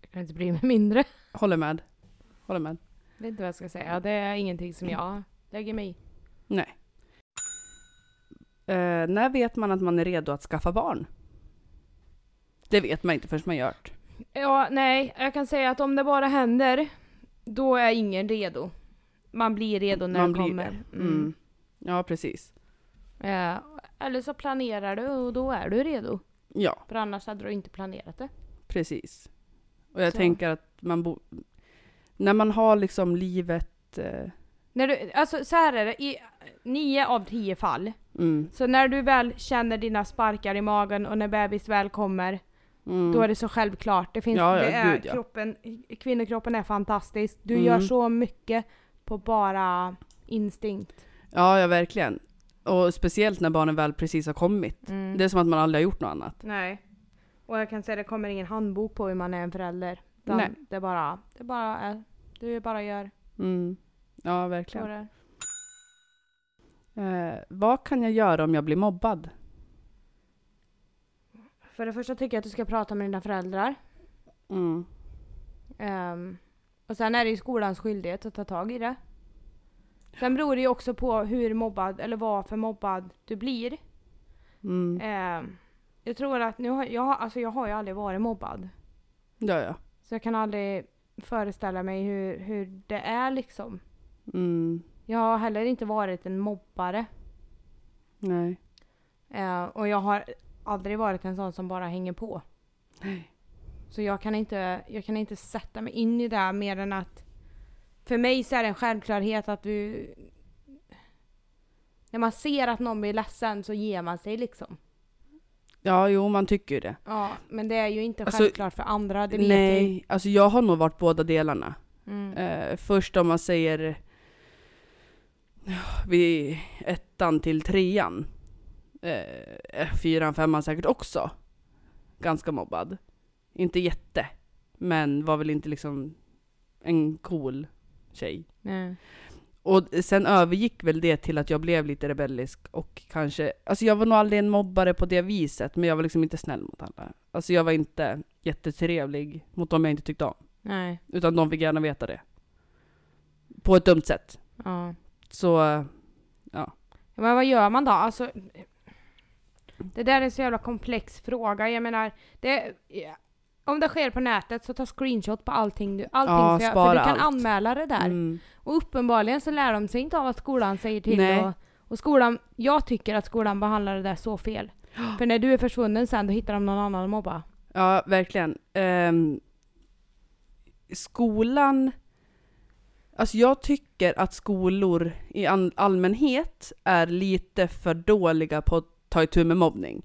[SPEAKER 1] Jag kan inte bry mig mindre.
[SPEAKER 2] Håller med. Håller med.
[SPEAKER 1] vet inte vad jag ska
[SPEAKER 2] Mm.
[SPEAKER 1] säga. Det är ingenting som jag lägger mig i.
[SPEAKER 2] Nej. Eh, när vet man att man är redo att skaffa barn? Det vet man inte förrän man gör det.
[SPEAKER 1] Ja, nej, jag kan säga att om det bara händer, då är ingen redo. Man blir redo när
[SPEAKER 2] Man
[SPEAKER 1] det
[SPEAKER 2] blir
[SPEAKER 1] kommer.
[SPEAKER 2] Mm. Ja, precis.
[SPEAKER 1] Mm. Eh, eller så planerar du och då är du redo.
[SPEAKER 2] Ja,
[SPEAKER 1] För annars hade du inte planerat det.
[SPEAKER 2] precis. Och jag
[SPEAKER 1] Så.
[SPEAKER 2] tänker att man bo- När man har liksom livet... eh,
[SPEAKER 1] När du, alltså så här är det, i nio av tio fall.
[SPEAKER 2] mm,
[SPEAKER 1] Så när du väl känner dina sparkar i magen och när bebis väl kommer,
[SPEAKER 2] mm,
[SPEAKER 1] då är det så självklart. Det finns,
[SPEAKER 2] Ja, ja,
[SPEAKER 1] det är,
[SPEAKER 2] gud, ja.
[SPEAKER 1] kroppen, kvinnokroppen är fantastisk. Du
[SPEAKER 2] Mm.
[SPEAKER 1] gör så mycket på bara instinkt.
[SPEAKER 2] Ja, ja, verkligen. Och speciellt när barnen väl precis har kommit.
[SPEAKER 1] Mm.
[SPEAKER 2] Det är som att man aldrig har gjort något annat.
[SPEAKER 1] Nej. Och jag kan säga det kommer ingen handbok på hur man är en förälder. Utan
[SPEAKER 2] Nej.
[SPEAKER 1] Det bara, det bara är, du bara gör.
[SPEAKER 2] Mm. Ja,
[SPEAKER 1] Så
[SPEAKER 2] verkligen.
[SPEAKER 1] det.
[SPEAKER 2] Eh, vad kan jag göra om jag blir mobbad?
[SPEAKER 1] För det första tycker jag att du ska prata med dina föräldrar.
[SPEAKER 2] Mm.
[SPEAKER 1] Ehm, Och sen är det ju skolans skyldighet att ta tag i det. Sen beror det ju också på hur mobbad, eller vad för mobbad du blir.
[SPEAKER 2] Mm.
[SPEAKER 1] Eh, jag tror att, nu har, jag, har- alltså jag har ju aldrig varit mobbad.
[SPEAKER 2] Ja, ja.
[SPEAKER 1] Så jag kan aldrig föreställa mig hur, hur det är liksom.
[SPEAKER 2] Mm.
[SPEAKER 1] Jag har heller inte varit en mobbare.
[SPEAKER 2] Nej.
[SPEAKER 1] Eh, och jag har aldrig varit en sån som bara hänger på.
[SPEAKER 2] Nej.
[SPEAKER 1] Så jag kan inte, jag kan inte sätta mig in i det här mer än att för mig så är det en självklarhet att du när man ser att någon blir ledsen så ger man sig liksom.
[SPEAKER 2] Ja, jo, man tycker ju det.
[SPEAKER 1] Ja, men det är ju inte
[SPEAKER 2] Alltså,
[SPEAKER 1] självklart för andra, det vet jag ju.
[SPEAKER 2] Nej, alltså jag har nog varit båda delarna.
[SPEAKER 1] Mm.
[SPEAKER 2] Eh, först om man säger ja, vid ettan till trean. Eh, fyran, femman säkert också. Ganska mobbad. Inte jätte, men var väl inte liksom en cool tjej.
[SPEAKER 1] Nej.
[SPEAKER 2] Och sen övergick väl det till att jag blev lite rebellisk och kanske, alltså jag var nog aldrig en mobbare på det viset, men jag var liksom inte snäll mot alla. Alltså jag var inte jättetrevlig mot dem jag inte tyckte om.
[SPEAKER 1] Nej.
[SPEAKER 2] Utan de fick gärna veta det. På ett dumt sätt.
[SPEAKER 1] Ja.
[SPEAKER 2] Så,
[SPEAKER 1] Ja, Men vad gör man då? Alltså, det där är en så jävla komplex fråga. Jag menar, det, ja. om det sker på nätet så ta screenshot på allting du, allting
[SPEAKER 2] Ja,
[SPEAKER 1] för, jag- för
[SPEAKER 2] spara
[SPEAKER 1] du kan
[SPEAKER 2] allt.
[SPEAKER 1] anmäla det där.
[SPEAKER 2] mm,
[SPEAKER 1] Och uppenbarligen så lär de sig inte av att skolan säger till.
[SPEAKER 2] Nej.
[SPEAKER 1] Och, och skolan, jag tycker att skolan behandlar det där så fel. För när du är försvunnen sen då hittar de någon annan att mobba.
[SPEAKER 2] ja verkligen. Ehm, skolan, alltså jag tycker att skolor i an- allmänhet är lite för dåliga på att ta itu med mobbning.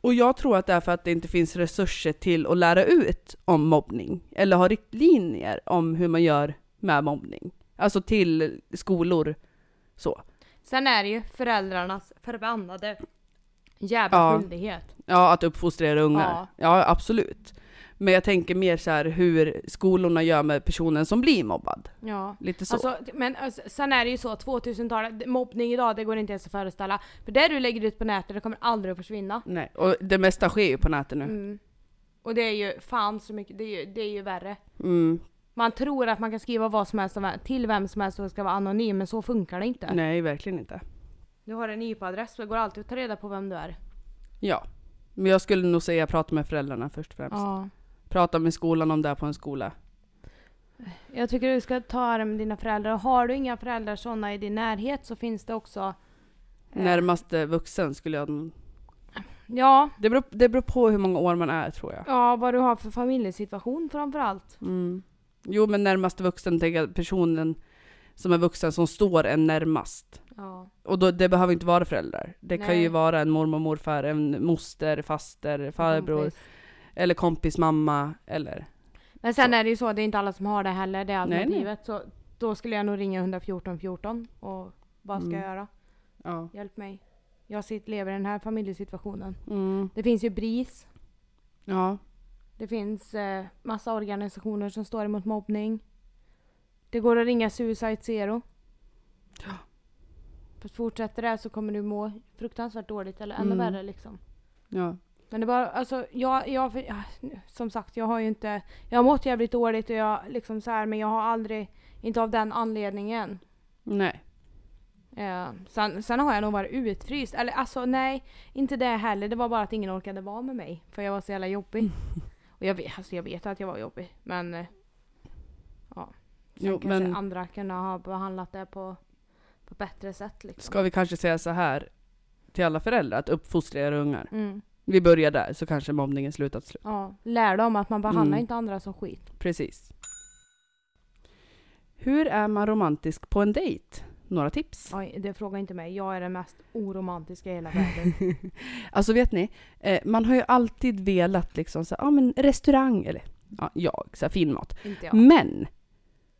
[SPEAKER 2] Och jag tror att det är för att det inte finns resurser till att lära ut om mobbning. Eller ha riktlinjer om hur man gör med mobbning. Alltså till skolor. Så.
[SPEAKER 1] Sen är det ju föräldrarnas förbannade jävla
[SPEAKER 2] Ja.
[SPEAKER 1] skyldighet.
[SPEAKER 2] Ja, att uppfostra era ungar.
[SPEAKER 1] Ja.
[SPEAKER 2] Ja. absolut. Men jag tänker mer så här hur skolorna gör med personen som blir mobbad.
[SPEAKER 1] Ja.
[SPEAKER 2] Lite så.
[SPEAKER 1] Alltså, men alltså, sen är det ju så, 2000-talet, mobbning idag det går inte ens att föreställa. För det du lägger ut på nätet det kommer aldrig att försvinna.
[SPEAKER 2] Nej, och det mesta sker ju på nätet nu.
[SPEAKER 1] Mm. Och det är ju fan så mycket, det är ju, det är ju värre.
[SPEAKER 2] Mm.
[SPEAKER 1] Man tror att man kan skriva vad som helst om- till vem som helst och ska vara anonym, men så funkar det inte.
[SPEAKER 2] Nej, verkligen inte.
[SPEAKER 1] Du har en IP-adress, det går alltid att ta reda på vem du är.
[SPEAKER 2] Ja. Men jag skulle nog säga prata med föräldrarna först och främst.
[SPEAKER 1] Ja.
[SPEAKER 2] Prata med skolan om det är på en skola.
[SPEAKER 1] Jag tycker du ska ta det med dina föräldrar. Och har du inga föräldrar sådana i din närhet så finns det också... eh,
[SPEAKER 2] Närmaste vuxen skulle jag...
[SPEAKER 1] Ja,
[SPEAKER 2] Det beror, det beror på hur många år man är tror jag.
[SPEAKER 1] ja, vad du har för familjesituation framförallt.
[SPEAKER 2] Mm. Jo, men närmaste vuxen tänker jag personen som är vuxen som står en närmast.
[SPEAKER 1] Ja.
[SPEAKER 2] Och då, det behöver inte vara föräldrar. Det kan
[SPEAKER 1] Nej.
[SPEAKER 2] ju vara en mormor, morfar, en moster, faster, farbror
[SPEAKER 1] Kompis.
[SPEAKER 2] eller kompis mamma eller...
[SPEAKER 1] Men sen
[SPEAKER 2] Så.
[SPEAKER 1] är det ju så, det är inte alla som har det heller, det
[SPEAKER 2] nej.
[SPEAKER 1] alternativet. Så då skulle jag nog ringa 114 14 och vad ska
[SPEAKER 2] Mm.
[SPEAKER 1] jag göra?
[SPEAKER 2] Ja.
[SPEAKER 1] Hjälp mig. Jag sitter, lever i den här familjesituationen.
[SPEAKER 2] Mm.
[SPEAKER 1] Det finns ju BRIS.
[SPEAKER 2] Ja.
[SPEAKER 1] Det finns eh, massa organisationer som står emot mobbning. Det går att ringa Suicide Zero.
[SPEAKER 2] Ja.
[SPEAKER 1] Fast fortsätter det här så kommer du må fruktansvärt dåligt eller ännu
[SPEAKER 2] Mm.
[SPEAKER 1] värre liksom.
[SPEAKER 2] ja.
[SPEAKER 1] Men det bara, alltså jag, jag, för- ja, som sagt jag har ju inte, jag har mått jävligt dåligt och jag liksom så här, men jag har aldrig, inte av den anledningen.
[SPEAKER 2] Nej.
[SPEAKER 1] Eh, sen, sen har jag nog varit utfryst, eller alltså nej, inte det heller. Det var bara att ingen orkade vara med mig, för jag var så jävla jobbig.
[SPEAKER 2] Mm.
[SPEAKER 1] Och jag vet, alltså jag vet att jag var jobbig, men eh, ja. Sen
[SPEAKER 2] Jo,
[SPEAKER 1] kanske
[SPEAKER 2] men-
[SPEAKER 1] andra kunde ha behandlat det på, på bättre sätt liksom.
[SPEAKER 2] Ska vi kanske säga så här till alla föräldrar, att uppfostra era ungar.
[SPEAKER 1] Mm,
[SPEAKER 2] Vi börjar där så kanske mobbningen slutar till slut.
[SPEAKER 1] ja. Lär dem att man behandlar
[SPEAKER 2] Mm.
[SPEAKER 1] inte andra som skit.
[SPEAKER 2] Precis. Hur är man romantisk på en dejt? Några tips?
[SPEAKER 1] Oj, det frågar inte mig. Jag är den mest oromantiska i hela världen.
[SPEAKER 2] Alltså vet ni, eh, man har ju alltid velat liksom så här, ja men restaurang eller ja, jag, så här, fin mat.
[SPEAKER 1] inte jag.
[SPEAKER 2] Men!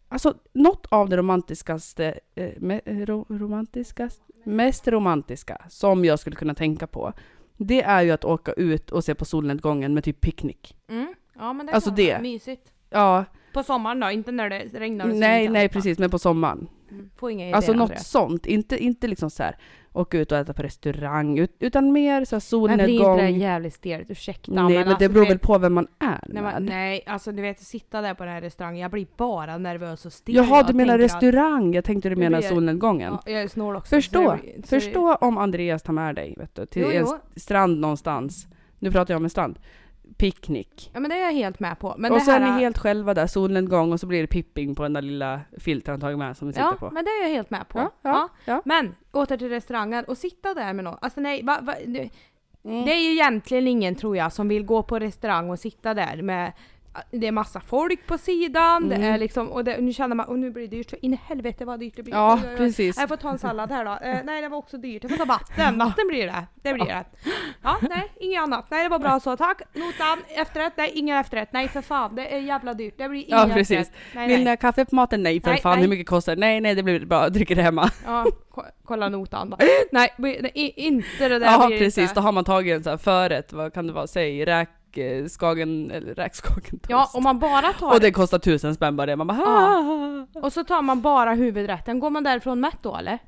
[SPEAKER 2] Alltså något av det romantiskaste, eh, me, ro, romantiskaste, mest romantiska som jag skulle kunna tänka på, det är ju att åka ut och se på solnedgången med typ picknick.
[SPEAKER 1] Mm. Ja men det
[SPEAKER 2] Alltså
[SPEAKER 1] kan
[SPEAKER 2] det.
[SPEAKER 1] vara mysigt.
[SPEAKER 2] Ja,
[SPEAKER 1] På sommaren då, inte när det regnar och
[SPEAKER 2] nej,
[SPEAKER 1] solen
[SPEAKER 2] nej
[SPEAKER 1] kan.
[SPEAKER 2] precis, men på sommaren.
[SPEAKER 1] Få inga idéer.
[SPEAKER 2] Alltså något
[SPEAKER 1] Andrea.
[SPEAKER 2] sånt. Inte, inte liksom så här åka ut och äta på restaurang, ut- utan mer så här
[SPEAKER 1] Men blir inte det
[SPEAKER 2] solnedgång.
[SPEAKER 1] där jävligt stelt? Ursäkta.
[SPEAKER 2] Nej, men det
[SPEAKER 1] alltså,
[SPEAKER 2] beror
[SPEAKER 1] för-
[SPEAKER 2] väl på vem man är
[SPEAKER 1] Nej, men,
[SPEAKER 2] med.
[SPEAKER 1] nej, alltså du vet sitta där på den här restaurangen, jag blir bara nervös och stel.
[SPEAKER 2] Jaha,
[SPEAKER 1] Jag
[SPEAKER 2] du menar
[SPEAKER 1] tänker
[SPEAKER 2] restaurang? Jag tänkte du
[SPEAKER 1] Det
[SPEAKER 2] menar
[SPEAKER 1] blir-
[SPEAKER 2] solnedgången.
[SPEAKER 1] Att, ja, jag är snål också.
[SPEAKER 2] Förstå,
[SPEAKER 1] så det blir- så det-
[SPEAKER 2] Förstå om Andreas tar med dig vet du, till
[SPEAKER 1] Jo,
[SPEAKER 2] en
[SPEAKER 1] jo.
[SPEAKER 2] st- strand någonstans. Nu pratar jag om en strand. Picknick.
[SPEAKER 1] Ja men det är jag helt med på. Men
[SPEAKER 2] och
[SPEAKER 1] det
[SPEAKER 2] så är
[SPEAKER 1] här,
[SPEAKER 2] ni helt själva där, solnedgång och så blir det pipping på den där lilla filtern han tagit med som vi sitter
[SPEAKER 1] Ja,
[SPEAKER 2] på.
[SPEAKER 1] men det är jag helt med på.
[SPEAKER 2] Ja,
[SPEAKER 1] Ja,
[SPEAKER 2] ja, ja.
[SPEAKER 1] Men åter till restaurangen och sitta där med någon. Alltså nej, va, va, nu-
[SPEAKER 2] Mm.
[SPEAKER 1] det är ju egentligen ingen tror jag som vill gå på restaurang och sitta där med äh, det är massa folk på sidan, det
[SPEAKER 2] Mm.
[SPEAKER 1] är liksom, och det, nu känner man och nu blir det dyrt så in i helvete vad dyrt det blir.
[SPEAKER 2] Ja,
[SPEAKER 1] Oj, oj, oj.
[SPEAKER 2] precis.
[SPEAKER 1] Jag får ta en sallad här då. Eh, nej det var också dyrt, jag får ta vatten. Vatten blir det. Det blir det. Ja, nej, inget annat. Nej det var bra så, tack. Notan, efterrätt, nej ingen efterrätt. Nej för fan, det är jävla dyrt. Det blir ingen
[SPEAKER 2] Ja, precis.
[SPEAKER 1] efterrätt. Nej,
[SPEAKER 2] Vill ni
[SPEAKER 1] nej.
[SPEAKER 2] ha kaffe på maten? Nej för
[SPEAKER 1] Nej,
[SPEAKER 2] fan,
[SPEAKER 1] nej.
[SPEAKER 2] hur mycket kostar det? Nej, nej det blir bra, jag dricker det hemma.
[SPEAKER 1] Ja, ko- kolla notan bara. Nej, blir- nej, i- inte det där
[SPEAKER 2] Ja
[SPEAKER 1] blir det
[SPEAKER 2] precis,
[SPEAKER 1] inte.
[SPEAKER 2] då har man tagit en sån här förrätt, vad kan det vara, säg räk, eh, skagen, eller räkskagen toast.
[SPEAKER 1] Ja, om man bara tar
[SPEAKER 2] och det kostar tusen spänn bara det, man bara ah.
[SPEAKER 1] Och så tar man bara huvudrätten. Går man därifrån mätt då eller?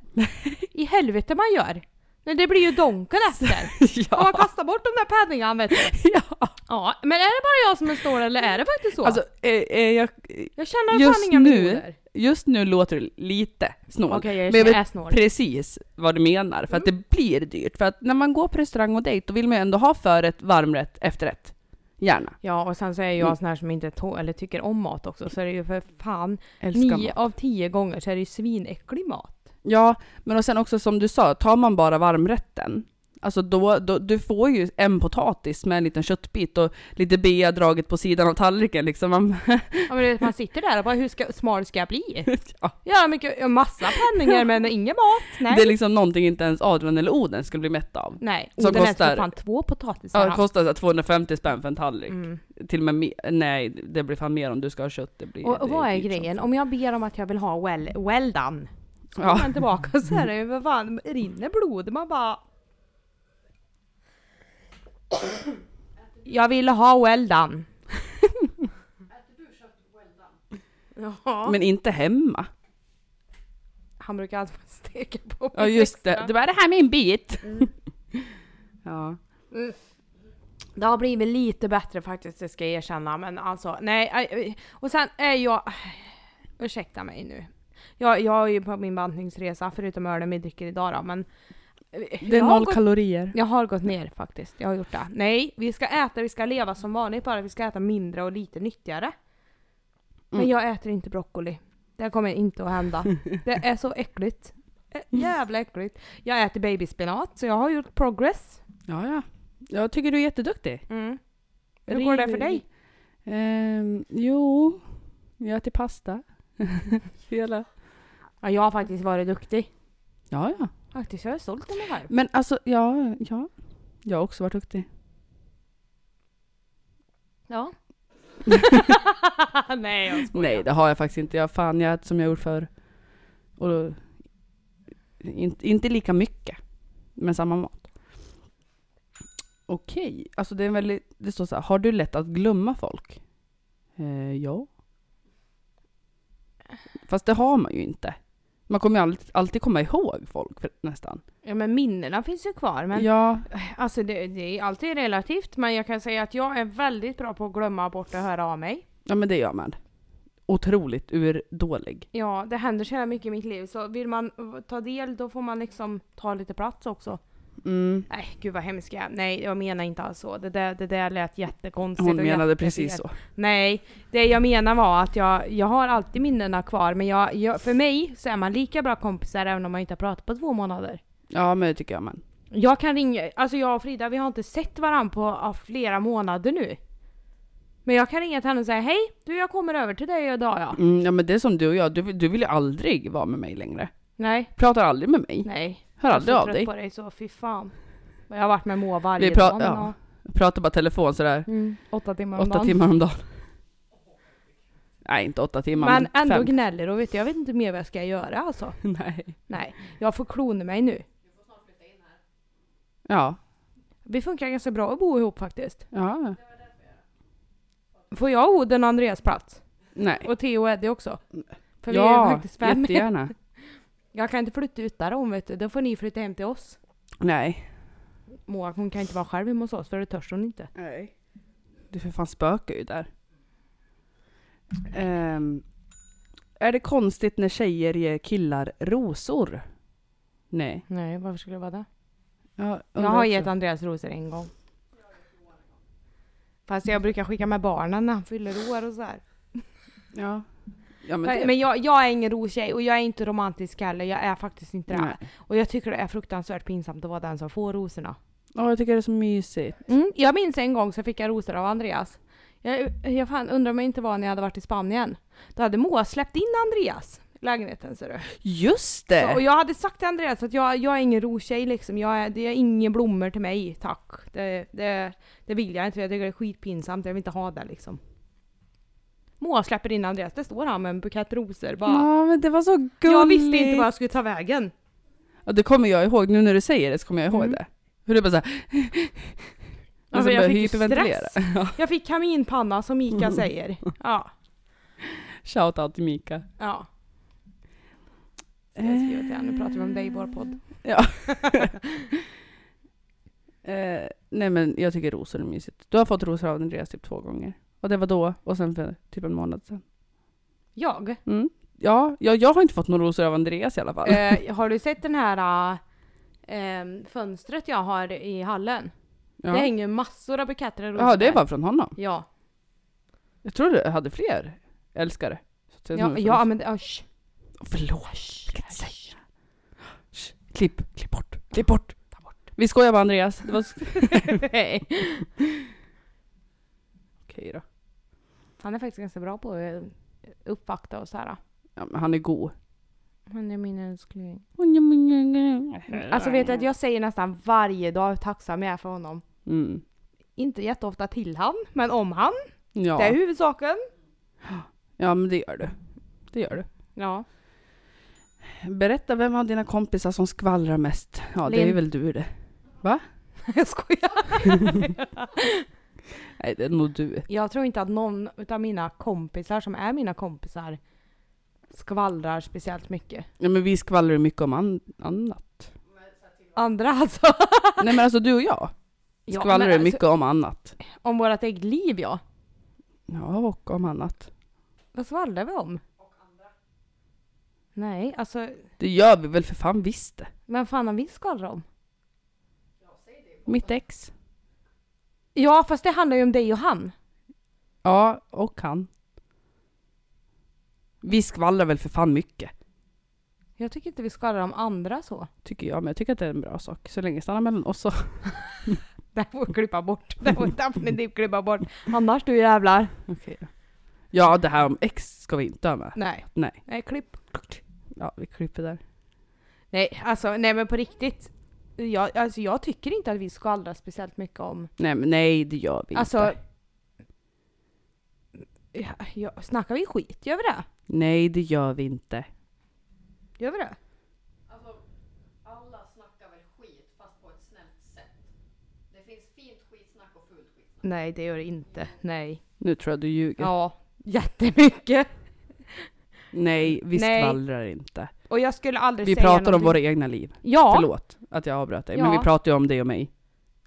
[SPEAKER 1] I helvete man gör! Nej det blir ju donken efter! Och man
[SPEAKER 2] ja.
[SPEAKER 1] kastar bort de där penningarna vet du.
[SPEAKER 2] ja.
[SPEAKER 1] Ja, men är det bara jag som är snål eller är det faktiskt så?
[SPEAKER 2] Alltså, eh, eh, jag,
[SPEAKER 1] jag känner
[SPEAKER 2] just
[SPEAKER 1] fan inga
[SPEAKER 2] nu-
[SPEAKER 1] miljoner.
[SPEAKER 2] just nu låter det lite snål.
[SPEAKER 1] Okej, Mm. jag
[SPEAKER 2] Men jag
[SPEAKER 1] känner-
[SPEAKER 2] vet
[SPEAKER 1] är snål.
[SPEAKER 2] precis vad du menar, för att det blir dyrt. För att när man går på restaurang och dejt, då vill man ju ändå ha förrätt, varmrätt, efterrätt. Gärna.
[SPEAKER 1] Ja, och sen så är jag
[SPEAKER 2] Mm.
[SPEAKER 1] sån här som inte tå- eller tycker om mat också, så är det ju för fan,
[SPEAKER 2] Älskar
[SPEAKER 1] nio
[SPEAKER 2] mat.
[SPEAKER 1] av tio gånger så är det ju svinäcklig mat.
[SPEAKER 2] Ja, men och sen också som du sa, tar man bara varmrätten, alltså då, då du får ju en potatis med en liten köttbit och lite bea draget på sidan av tallriken liksom. Man,
[SPEAKER 1] Ja, men du vet, man sitter där och bara, hur ska, smal ska jag bli?
[SPEAKER 2] ja,
[SPEAKER 1] Ja, mycket, ja, massa penningar men ingen mat. Nej.
[SPEAKER 2] det är liksom någonting inte ens Adrian eller Oden skulle bli mätt av.
[SPEAKER 1] Nej,
[SPEAKER 2] Som
[SPEAKER 1] och den kostar...
[SPEAKER 2] kostar-
[SPEAKER 1] äter för fan två potatisar. alltså.
[SPEAKER 2] Ja, det
[SPEAKER 1] han.
[SPEAKER 2] kostar så här 250 spänn för en tallrik.
[SPEAKER 1] Mm.
[SPEAKER 2] Till och med mer, nej det blir fan mer om du ska ha kött. Det blir,
[SPEAKER 1] Och, och
[SPEAKER 2] det liksom
[SPEAKER 1] vad är
[SPEAKER 2] dyrt som
[SPEAKER 1] grejen?
[SPEAKER 2] fan.
[SPEAKER 1] Om jag ber om att jag vill ha well, well done, så
[SPEAKER 2] Ja. Mm.
[SPEAKER 1] kommer man tillbaka så är det ju, vad fan, rinner blod? Man bara... Jag ville ha well done. Ja,
[SPEAKER 2] Men inte hemma.
[SPEAKER 1] han brukar alltid steka på
[SPEAKER 2] Ja just det, du bara det här med en bit. ja.
[SPEAKER 1] Mm. Det har blivit lite bättre faktiskt, det ska jag erkänna. Men alltså, nej. aj, aj. Och sen är jag... Ursäkta mig nu. Jag, jag är ju på min bantningsresa, förutom ölen vi dricker idag då, men... eh,
[SPEAKER 2] Det är
[SPEAKER 1] jag har
[SPEAKER 2] noll
[SPEAKER 1] gått,
[SPEAKER 2] kalorier.
[SPEAKER 1] Jag har gått ner faktiskt, jag har gjort det. Nej, vi ska äta, vi ska leva som vanligt, bara vi ska äta mindre och lite nyttigare. Men
[SPEAKER 2] Mm.
[SPEAKER 1] jag äter inte broccoli. Det kommer inte att hända. Det är så äckligt. Ä- Jävla äckligt. Jag äter babyspinat, så jag har gjort progress.
[SPEAKER 2] Ja, ja. Jag tycker du är jätteduktig.
[SPEAKER 1] Mm. Hur går det för dig?
[SPEAKER 2] Ehm, jo, jag äter pasta. Hela.
[SPEAKER 1] Ja, jag har faktiskt varit duktig.
[SPEAKER 2] Ja, ja.
[SPEAKER 1] Faktiskt, jag är stolt över mig själv.
[SPEAKER 2] Men alltså, ja, ja. Jag har också varit duktig.
[SPEAKER 1] Ja. Nej, jag skojar.
[SPEAKER 2] Nej, det har jag faktiskt inte. Jag fan, jag äter som jag gjort förr. Och då, inte, inte lika mycket, men samma mat. Okej, alltså det är en väldigt, det står så här, har du lätt att glömma folk? Eh, ja. Fast det har man ju inte. Man kommer ju alltid, alltid komma ihåg folk för, nästan.
[SPEAKER 1] Ja, men minnena finns ju kvar. Men
[SPEAKER 2] ja,
[SPEAKER 1] alltså, det, det är alltid relativt. Men jag kan säga att jag är väldigt bra på att glömma bort att höra av mig.
[SPEAKER 2] ja, men det gör man. Otroligt urdålig.
[SPEAKER 1] Ja, det händer så jävla mycket i mitt liv. Så vill man eh, ta del, då får man liksom ta lite plats också.
[SPEAKER 2] Mm.
[SPEAKER 1] Nej, gud vad hemskt jag är. Nej, jag menar inte alls så. Det där, det där lät jättekonstigt.
[SPEAKER 2] Hon
[SPEAKER 1] och
[SPEAKER 2] menade
[SPEAKER 1] jättefel.
[SPEAKER 2] precis så.
[SPEAKER 1] Nej, det jag menar var att jag, jag har alltid minnena kvar. Men jag, jag, för mig så är man lika bra kompisar även om man inte har pratat på två månader.
[SPEAKER 2] Ja, men det tycker jag man.
[SPEAKER 1] Jag kan ringa, alltså jag och Frida vi har inte sett varandra på ja, flera månader nu. Men jag kan ringa till henne och säga hej, du jag kommer över till dig idag ja.
[SPEAKER 2] Mm, ja men det är som du och jag, du, vill- du vill ju aldrig vara med mig längre.
[SPEAKER 1] Nej,
[SPEAKER 2] Pratar aldrig med mig,
[SPEAKER 1] nej.
[SPEAKER 2] hör aldrig
[SPEAKER 1] jag är så
[SPEAKER 2] av
[SPEAKER 1] trött
[SPEAKER 2] dig.
[SPEAKER 1] på dig så fy fan. Och Jag har varit med Moa varje
[SPEAKER 2] Vi pra-
[SPEAKER 1] dag. men
[SPEAKER 2] ja, Pratar bara telefon sådär,
[SPEAKER 1] ja. Mm, åtta timmar om
[SPEAKER 2] åtta
[SPEAKER 1] dagen.
[SPEAKER 2] timmar om dagen. Nej inte åtta timmar men,
[SPEAKER 1] Men ändå
[SPEAKER 2] fem.
[SPEAKER 1] gnäller och vet du, jag vet inte mer vad jag ska göra alltså.
[SPEAKER 2] Nej.
[SPEAKER 1] Nej, jag får klona mig nu.
[SPEAKER 2] Ja,
[SPEAKER 1] Vi funkar ganska bra att bo ihop faktiskt.
[SPEAKER 2] ja,
[SPEAKER 1] Får jag och Oden och Andreas plats?
[SPEAKER 2] nej.
[SPEAKER 1] Och Theo och Eddie också? För vi är
[SPEAKER 2] ja,
[SPEAKER 1] faktiskt fem.
[SPEAKER 2] jättegärna.
[SPEAKER 1] Jag kan inte flytta ut där om vet du, då får ni flytta hem till oss.
[SPEAKER 2] Nej.
[SPEAKER 1] Moa hon kan inte vara själv hemma hos oss för det törs hon inte.
[SPEAKER 2] Nej. Du för fan spökar ju där. Ehm, är det konstigt när tjejer ger killar rosor? Nej.
[SPEAKER 1] Nej varför skulle det vara det?
[SPEAKER 2] Jag,
[SPEAKER 1] Jag har gett Andreas rosor en gång. Fast jag brukar skicka med barnen när han fyller år och så här.
[SPEAKER 2] Ja. ja men, det,
[SPEAKER 1] Men, jag, jag är ingen rostjej och jag är inte romantisk heller. Jag är faktiskt inte det.
[SPEAKER 2] Nej.
[SPEAKER 1] Och jag tycker det är fruktansvärt pinsamt att vara den som får rosorna.
[SPEAKER 2] Åh, jag tycker det är så mysigt.
[SPEAKER 1] Mm, jag minns en gång så fick jag rosor av Andreas. Jag, jag fan, undrar om jag inte var när jag hade varit i Spanien. Då hade Moa släppt in Andreas i lägenheten ser du.
[SPEAKER 2] Just
[SPEAKER 1] Så, och
[SPEAKER 2] det!
[SPEAKER 1] jag hade sagt till Andreas att jag, jag är ingen rostjej liksom. Jag är, det är inga blommor till mig, tack. Det, det, det vill jag inte, för jag tycker det är skitpinsamt. Jag vill inte ha det liksom. Moa släpper in Andreas, där står han med en bukett rosor bara.
[SPEAKER 2] Ja men det var så gulligt!
[SPEAKER 1] Jag visste inte vad jag skulle ta vägen.
[SPEAKER 2] Ja, det kommer jag ihåg, nu när du säger det så kommer jag ihåg
[SPEAKER 1] Mm.
[SPEAKER 2] det. Hur du bara såhär...
[SPEAKER 1] Ja,
[SPEAKER 2] Och så
[SPEAKER 1] men Alltså, jag
[SPEAKER 2] börjar
[SPEAKER 1] fick ju
[SPEAKER 2] hyperventilera. Ja.
[SPEAKER 1] Jag fick kaminpanna som Mika säger. Ja,
[SPEAKER 2] Shoutout till Mika.
[SPEAKER 1] ja. Så jag skriver till henne, nu pratar vi om dig i vår podd.
[SPEAKER 2] Ja. eh, nej men jag tycker rosor är mysigt. Du har fått rosor av Andreas typ två gånger. Och det var då och sen för typ en månad sedan.
[SPEAKER 1] Jag?
[SPEAKER 2] Mm. Ja, jag, jag har inte fått några rosor av Andreas i alla fall.
[SPEAKER 1] Eh, har du sett den här eh, em, fönstret jag har i hallen?
[SPEAKER 2] ja.
[SPEAKER 1] Det hänger massor av buketter och rosor
[SPEAKER 2] ja, det
[SPEAKER 1] där.
[SPEAKER 2] var från honom.
[SPEAKER 1] Ja,
[SPEAKER 2] Jag trodde jag hade fler älskare. Så att jag
[SPEAKER 1] ja,
[SPEAKER 2] nu-
[SPEAKER 1] ja men det- usch.
[SPEAKER 2] Förlåt. Jag kan inte säga. Shh, Klipp, klipp bort, klipp bort. Ta bort. Vi skojar bara Andreas. Det var...
[SPEAKER 1] Nej.
[SPEAKER 2] Okej då.
[SPEAKER 1] Han är faktiskt ganska bra på att eh, uppvakta och så här.
[SPEAKER 2] Ja, men han är god.
[SPEAKER 1] Han är min älskling. Alltså vet du att jag säger nästan varje dag hur tacksam jag är för honom.
[SPEAKER 2] Mm.
[SPEAKER 1] Inte jätteofta till han, men om han.
[SPEAKER 2] Ja.
[SPEAKER 1] Det är huvudsaken.
[SPEAKER 2] ja, men det gör du. Det gör du.
[SPEAKER 1] Ja.
[SPEAKER 2] Berätta, vem av dina kompisar som skvallrar mest? Ja, det
[SPEAKER 1] Lin.
[SPEAKER 2] är väl du det.
[SPEAKER 1] Jag skojar.
[SPEAKER 2] Nej, det är nog du.
[SPEAKER 1] Jag tror inte att någon utav mina kompisar som är mina kompisar skvallrar speciellt mycket.
[SPEAKER 2] Ja, men vi skvallrar ju mycket om an- annat.
[SPEAKER 1] Andra alltså.
[SPEAKER 2] Nej, men alltså du och jag
[SPEAKER 1] Ja,
[SPEAKER 2] skvallrar
[SPEAKER 1] men
[SPEAKER 2] ju
[SPEAKER 1] alltså,
[SPEAKER 2] mycket om annat.
[SPEAKER 1] Om vårat eget liv ja.
[SPEAKER 2] Ja, och om annat.
[SPEAKER 1] Vad skvallrar vi om? Nej, alltså
[SPEAKER 2] Det gör vi väl för fan visst det.
[SPEAKER 1] vem fan har vi skvallrat om?
[SPEAKER 2] Mitt ex.
[SPEAKER 1] Ja, fast det handlar ju om dig och han.
[SPEAKER 2] Ja, och han. Vi skvallrar väl för fan mycket,
[SPEAKER 1] Jag tycker inte vi skvallrar om andra så.
[SPEAKER 2] tycker jag. Men jag tycker att det är en bra sak. Så länge det stannar mellan oss så.
[SPEAKER 1] Det här får vi klippa bort. Det här får vi definitivt klippa bort. Annars du jävlar.
[SPEAKER 2] Okej. Ja, det här om ex ska vi inte ha med.
[SPEAKER 1] Nej.
[SPEAKER 2] Nej.
[SPEAKER 1] Nej, klipp.
[SPEAKER 2] Ja, vi klipper där.
[SPEAKER 1] Nej, alltså nej men på riktigt. Jag, alltså, jag tycker inte att vi skvallrar speciellt mycket om...
[SPEAKER 2] Nej, men nej, det gör vi
[SPEAKER 1] Alltså...
[SPEAKER 2] inte.
[SPEAKER 1] Ja, ja, snackar vi skit? Gör vi det?
[SPEAKER 2] Nej, det gör vi inte.
[SPEAKER 1] Gör vi det?
[SPEAKER 3] Alltså, alla snackar väl skit fast på ett snällt sätt. Det finns fint skitsnack och fult skitsnack. Mm.
[SPEAKER 1] Nej, det gör det inte. Nej.
[SPEAKER 2] Nu tror jag du ljuger.
[SPEAKER 1] Ja, jättemycket.
[SPEAKER 2] Nej, vi
[SPEAKER 1] Nej.
[SPEAKER 2] skvallrar inte.
[SPEAKER 1] Och jag skulle aldrig
[SPEAKER 2] Vi
[SPEAKER 1] säga
[SPEAKER 2] pratar om
[SPEAKER 1] någonting-
[SPEAKER 2] våra egna liv.
[SPEAKER 1] Ja,
[SPEAKER 2] Förlåt att jag avbröt dig, men
[SPEAKER 1] Ja.
[SPEAKER 2] vi pratar ju om dig och mig.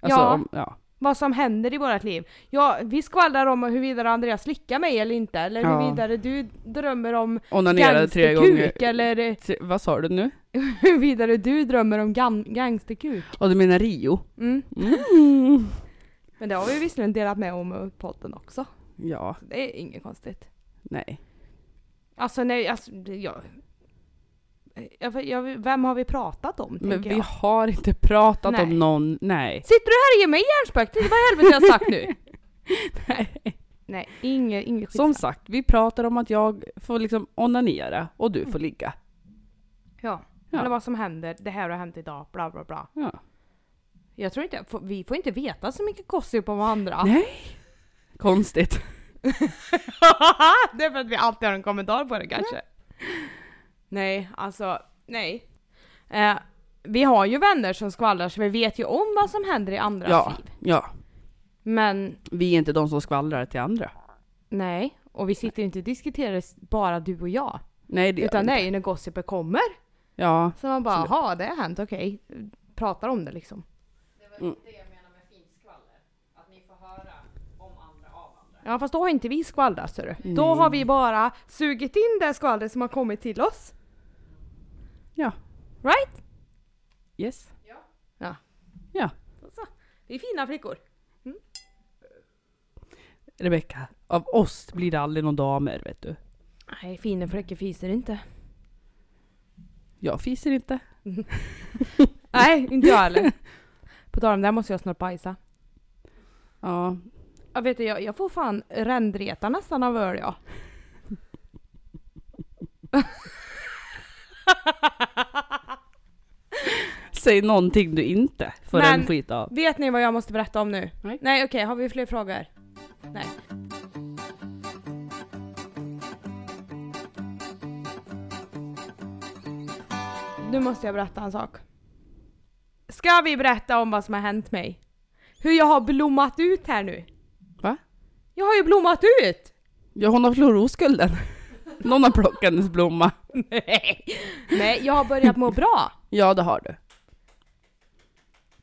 [SPEAKER 2] Alltså,
[SPEAKER 1] Ja.
[SPEAKER 2] ja. Om, ja.
[SPEAKER 1] vad som händer i vårt liv. Ja, vi skvallrar om huruvida Andreas slickar mig eller inte, eller
[SPEAKER 2] Ja.
[SPEAKER 1] huruvida du drömmer om
[SPEAKER 2] Onanerade tre gånger.
[SPEAKER 1] gangsterkuk, eller
[SPEAKER 2] Tre, vad sa du nu?
[SPEAKER 1] huruvida du drömmer om gan- gangsterkuk.
[SPEAKER 2] Och du menar Rio?
[SPEAKER 1] Mm.
[SPEAKER 2] Mm.
[SPEAKER 1] Men det har vi visserligen delat med om i podden också.
[SPEAKER 2] Ja,
[SPEAKER 1] Så det är inget konstigt.
[SPEAKER 2] nej.
[SPEAKER 1] Alltså nej, alltså, det- jag, jag, jag, vem har vi pratat om?
[SPEAKER 2] Men
[SPEAKER 1] tänker
[SPEAKER 2] vi
[SPEAKER 1] jag.
[SPEAKER 2] har inte pratat
[SPEAKER 1] Nej.
[SPEAKER 2] om någon, nej.
[SPEAKER 1] Sitter du här och ger mig hjärnspöket? Vad i helvete har jag sagt nu? Nej, inget, inget
[SPEAKER 2] Som
[SPEAKER 1] skitsnack.
[SPEAKER 2] sagt, vi pratar om att jag får liksom onanera och du får ligga.
[SPEAKER 1] Ja.
[SPEAKER 2] Ja.
[SPEAKER 1] Eller vad som händer, det här har hänt idag, bla bla bla.
[SPEAKER 2] Ja.
[SPEAKER 1] Jag tror inte, får- vi får inte veta så mycket gossip om andra.
[SPEAKER 2] Nej. Konstigt.
[SPEAKER 1] det är för att vi alltid har en kommentar på det kanske. Nej, alltså nej. Eh, vi har ju vänner som skvallrar så vi vet ju om vad som händer i andras
[SPEAKER 2] Ja,
[SPEAKER 1] liv.
[SPEAKER 2] ja.
[SPEAKER 1] Men
[SPEAKER 2] Vi är inte de som skvallrar till andra.
[SPEAKER 1] nej, och vi sitter ju inte och diskuterar s- bara du och jag.
[SPEAKER 2] Nej, det gör
[SPEAKER 1] utan
[SPEAKER 2] vi
[SPEAKER 1] det
[SPEAKER 2] inte.
[SPEAKER 1] är ju när gossipen kommer.
[SPEAKER 2] Ja,
[SPEAKER 1] Så man bara,
[SPEAKER 2] Absolut.
[SPEAKER 1] jaha det har hänt, okej. Pratar om det liksom.
[SPEAKER 3] Det var
[SPEAKER 2] Mm.
[SPEAKER 3] det jag menar med fint skvaller. Att ni får höra om andra av andra.
[SPEAKER 1] Ja fast då har inte vi skvallrat ser
[SPEAKER 2] Mm.
[SPEAKER 1] du. Då har vi bara sugit in det skvallret som har kommit till oss.
[SPEAKER 2] Ja.
[SPEAKER 1] Right?
[SPEAKER 2] yes.
[SPEAKER 3] Ja,
[SPEAKER 1] Så, vi är fina flickor.
[SPEAKER 2] Rebecka, av oss blir det aldrig någon damer vet du.
[SPEAKER 1] Nej, fina fläckar fiser inte.
[SPEAKER 2] Jag fiser inte.
[SPEAKER 1] Nej, inte jag heller. På tal om det här måste jag snart bajsa.
[SPEAKER 2] Ja,
[SPEAKER 1] Jag vet du, jag, jag får fan rändreta nästan av öl jag.
[SPEAKER 2] säg någonting du inte får
[SPEAKER 1] Men-
[SPEAKER 2] en skit av.
[SPEAKER 1] Vet ni vad jag måste berätta om nu?
[SPEAKER 2] Nej.
[SPEAKER 1] Nej okej, har vi fler frågor? Nej. Nu måste jag berätta en sak. Ska vi berätta om vad som har hänt mig? Hur jag har blommat ut här nu.
[SPEAKER 2] Va?
[SPEAKER 1] Jag har ju blommat ut!
[SPEAKER 2] Ja, hon har förlorat oskulden. Någon har plockat hennes blomma.
[SPEAKER 1] Nej. Nej, jag har börjat må bra.
[SPEAKER 2] Ja, det har du.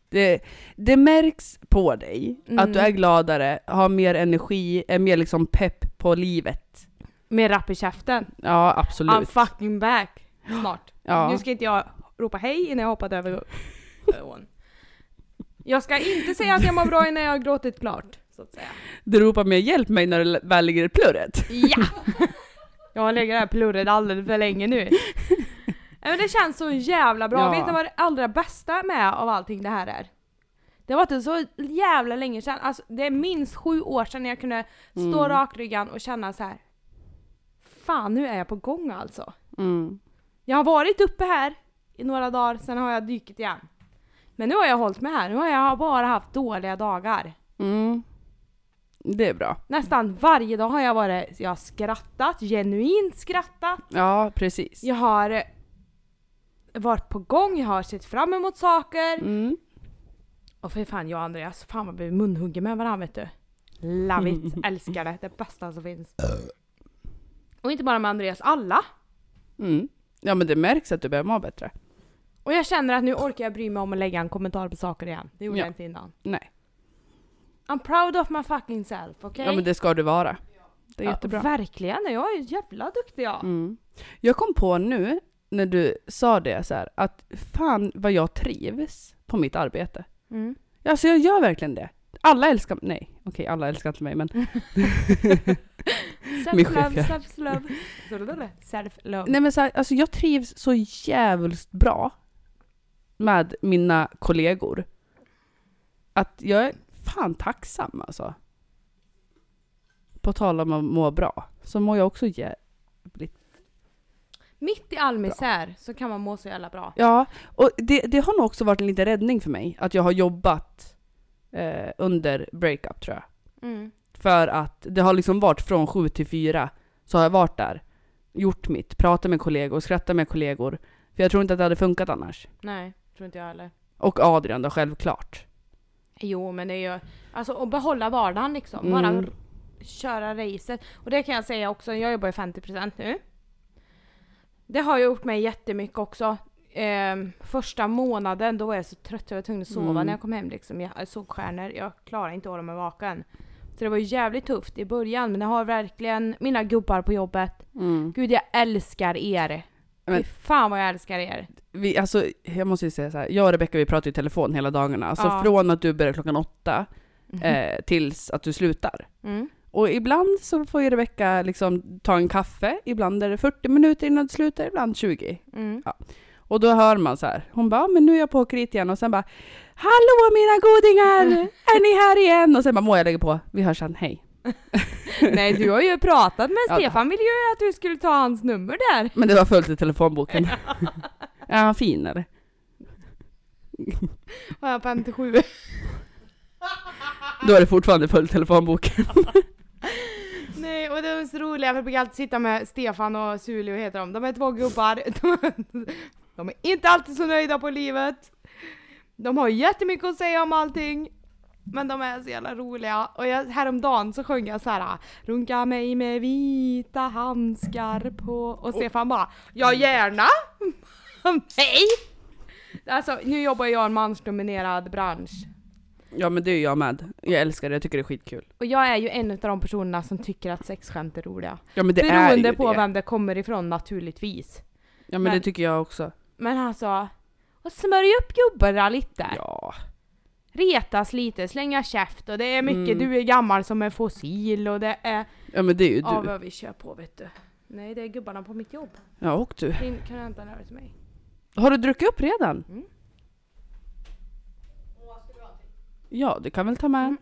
[SPEAKER 2] Det, det märks på dig att du
[SPEAKER 1] Mm.
[SPEAKER 2] är gladare, har mer energi, är mer liksom pepp på livet.
[SPEAKER 1] Med rapp i käften.
[SPEAKER 2] Ja, absolut.
[SPEAKER 1] I'm fucking back. Snart.
[SPEAKER 2] Ja.
[SPEAKER 1] Nu ska inte jag ropa hej innan jag hoppat över ån. Jag ska inte säga att jag mår bra innan jag har gråtit klart. Så att säga.
[SPEAKER 2] Du ropar mer hjälp mig när du väl ligger i plurret.
[SPEAKER 1] Ja! Jag har legat där plurret alldeles för länge nu. Nej, Men det känns så jävla bra.
[SPEAKER 2] Ja.
[SPEAKER 1] Vet ni vad det allra bästa med av allting det här är? Det var inte så jävla länge sedan, alltså det är minst sju år sedan jag kunde stå
[SPEAKER 2] Mm.
[SPEAKER 1] rakryggad och känna så här. Fan nu är jag på gång alltså.
[SPEAKER 2] Mm.
[SPEAKER 1] Jag har varit uppe här i några dagar, sen har jag dykt igen. Men nu har jag hållit mig här, nu har jag bara haft dåliga dagar.
[SPEAKER 2] Mm. Det är bra.
[SPEAKER 1] Nästan varje dag har jag varit, jag har skrattat, genuint skrattat.
[SPEAKER 2] Ja, precis.
[SPEAKER 1] Jag har eh, varit på gång, jag har sett fram emot saker.
[SPEAKER 2] Mm.
[SPEAKER 1] Och för fan jag och Andreas, fan vad vi munhugger med varandra vet du. Love it, älskar det, det bästa som finns.
[SPEAKER 2] Äh.
[SPEAKER 1] Och inte bara med Andreas, alla.
[SPEAKER 2] Mm. Ja, men det märks att du börjar må bättre.
[SPEAKER 1] Och jag känner att nu orkar jag bry mig om att lägga en kommentar på saker igen. Det gjorde
[SPEAKER 2] Ja.
[SPEAKER 1] jag inte innan.
[SPEAKER 2] Nej.
[SPEAKER 1] I'm proud of my fucking self, okej?
[SPEAKER 2] Ja, men det ska du vara. Det är jättebra.
[SPEAKER 1] Ja, verkligen, jag är jävla duktig jag.
[SPEAKER 2] Mm. Jag kom på nu när du sa det så här, att fan vad jag trivs på mitt arbete.
[SPEAKER 1] Mm.
[SPEAKER 2] Alltså jag gör verkligen det. Alla älskar nej okej alla älskar inte mig men Min
[SPEAKER 1] Self-love,
[SPEAKER 2] chef, ja.
[SPEAKER 1] self-love. Sådär, Self-love.
[SPEAKER 2] nej men så här, alltså jag trivs så jävligt bra med mina kollegor. Att jag är fan tacksam alltså. På tal om att må bra så mår jag också jä-
[SPEAKER 1] Mitt i all misär så kan man må så jävla bra.
[SPEAKER 2] Ja, och det, det har nog också varit en liten räddning för mig att jag har jobbat eh, under breakup tror jag.
[SPEAKER 1] Mm.
[SPEAKER 2] För att det har liksom varit från sju till fyra så har jag varit där, gjort mitt, pratat med kollegor, skrattat med kollegor. För jag tror inte att det hade funkat annars.
[SPEAKER 1] Nej, tror inte jag heller.
[SPEAKER 2] Och Adrian då självklart.
[SPEAKER 1] Jo men det är ju, alltså att behålla vardagen liksom.
[SPEAKER 2] Mm.
[SPEAKER 1] Bara r- köra racet. Och det kan jag säga också, jag jobbar ju 50% nu. Det har gjort mig jättemycket också. Ehm, första månaden då var jag så trött, jag var tvungen att sova
[SPEAKER 2] Mm.
[SPEAKER 1] när jag kom hem liksom. Jag såg stjärnor, jag klarade inte att hålla mig vaken. Så det var ju jävligt tufft i början men det har verkligen mina gubbar på jobbet. Gud jag älskar er!
[SPEAKER 2] Men-
[SPEAKER 1] Fy fan vad jag älskar er!
[SPEAKER 2] Vi, alltså, jag måste ju säga så här, jag och Rebecka vi pratar ju i telefon hela dagarna. Alltså
[SPEAKER 1] Ja.
[SPEAKER 2] från att du börjar klockan åtta eh, tills att du slutar.
[SPEAKER 1] Mm.
[SPEAKER 2] Och ibland så får ju Rebecka liksom ta en kaffe, ibland är det 40 minuter innan det slutar, ibland 20.
[SPEAKER 1] Mm.
[SPEAKER 2] Och då hör man så här, hon bara, "Ja, men nu är jag på åkeriet igen och sen bara, hallå mina godingar, är ni här igen? Och sen bara, må jag lägger på, vi hörs sen, hej.
[SPEAKER 1] Nej du har ju pratat med
[SPEAKER 2] Ja.
[SPEAKER 1] Stefan ville ju att du skulle ta hans nummer där.
[SPEAKER 2] Men det var fullt i telefonboken. är han fin eller?
[SPEAKER 1] Har jag 57?
[SPEAKER 2] Då är det fortfarande full i telefonboken.
[SPEAKER 1] Nej och det är så roliga för jag brukar alltid sitta med Stefan och Sulio heter de. De är två gubbar. De, de är inte alltid så nöjda på livet. De har jättemycket att säga om allting. Men de är så jävla roliga. Och jag, häromdagen så sjöng jag så här. Runka mig med vita handskar på. Och Stefan bara. Ja gärna! mig. Alltså nu jobbar jag i en mansdominerad bransch.
[SPEAKER 2] Ja men det är jag med. Jag älskar det, jag tycker det är skitkul.
[SPEAKER 1] Och jag är ju en av de personerna som tycker att sexskämt är roliga.
[SPEAKER 2] Ja men det är
[SPEAKER 1] Beroende
[SPEAKER 2] ju
[SPEAKER 1] på
[SPEAKER 2] det.
[SPEAKER 1] vem det kommer ifrån naturligtvis.
[SPEAKER 2] Ja men, det
[SPEAKER 1] men-
[SPEAKER 2] tycker jag också.
[SPEAKER 1] Men alltså, och smörja upp gubbarna lite.
[SPEAKER 2] Ja.
[SPEAKER 1] Retas lite, slänga käft och det är mycket
[SPEAKER 2] Mm.
[SPEAKER 1] du är gammal som en fossil och det är...
[SPEAKER 2] Ja men det är ju
[SPEAKER 1] Ja
[SPEAKER 2] du.
[SPEAKER 1] vad vi kör på vet du. Nej det är gubbarna på mitt jobb.
[SPEAKER 2] Ja och du.
[SPEAKER 1] Kan, kan du hämta en öl till mig?
[SPEAKER 2] Har du druckit upp redan?
[SPEAKER 1] Mm.
[SPEAKER 2] Ja du kan väl ta med en.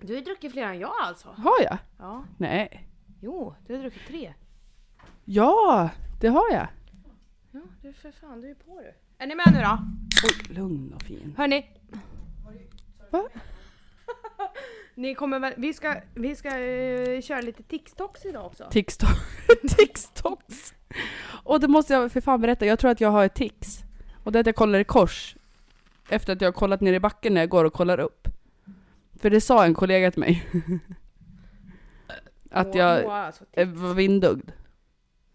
[SPEAKER 1] Du har druckit fler än jag alltså?
[SPEAKER 2] Har jag?
[SPEAKER 1] Ja.
[SPEAKER 2] Nej.
[SPEAKER 1] Jo, du har druckit tre.
[SPEAKER 2] Ja, det har jag.
[SPEAKER 1] Ja, du för fan, du är på du. Är ni med nu då?
[SPEAKER 2] Oj, lugn och fin.
[SPEAKER 1] Hörni!
[SPEAKER 2] Va?
[SPEAKER 1] Ni kommer väl, vi ska, vi ska eh, köra lite TikToks idag också.
[SPEAKER 2] TikTok. TikToks. Och det måste jag för fan berätta, jag tror att jag har ett tics. Och det är att jag kollar i kors. Efter att jag har kollat ner i backen när jag går och kollar upp. För det sa en kollega till mig. att
[SPEAKER 1] Moa-
[SPEAKER 2] jag
[SPEAKER 1] Moa, alltså,
[SPEAKER 2] eh, var vindögd.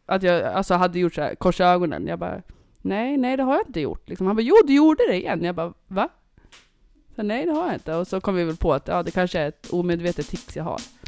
[SPEAKER 2] Att jag alltså hade gjort så här, korsa ögonen. Jag bara, nej, nej det har jag inte gjort. Liksom. Han bara, jo du gjorde det igen. Jag bara, va? Så, nej det har jag inte. Och så kom vi väl på att ja, det kanske är ett omedvetet tics jag har.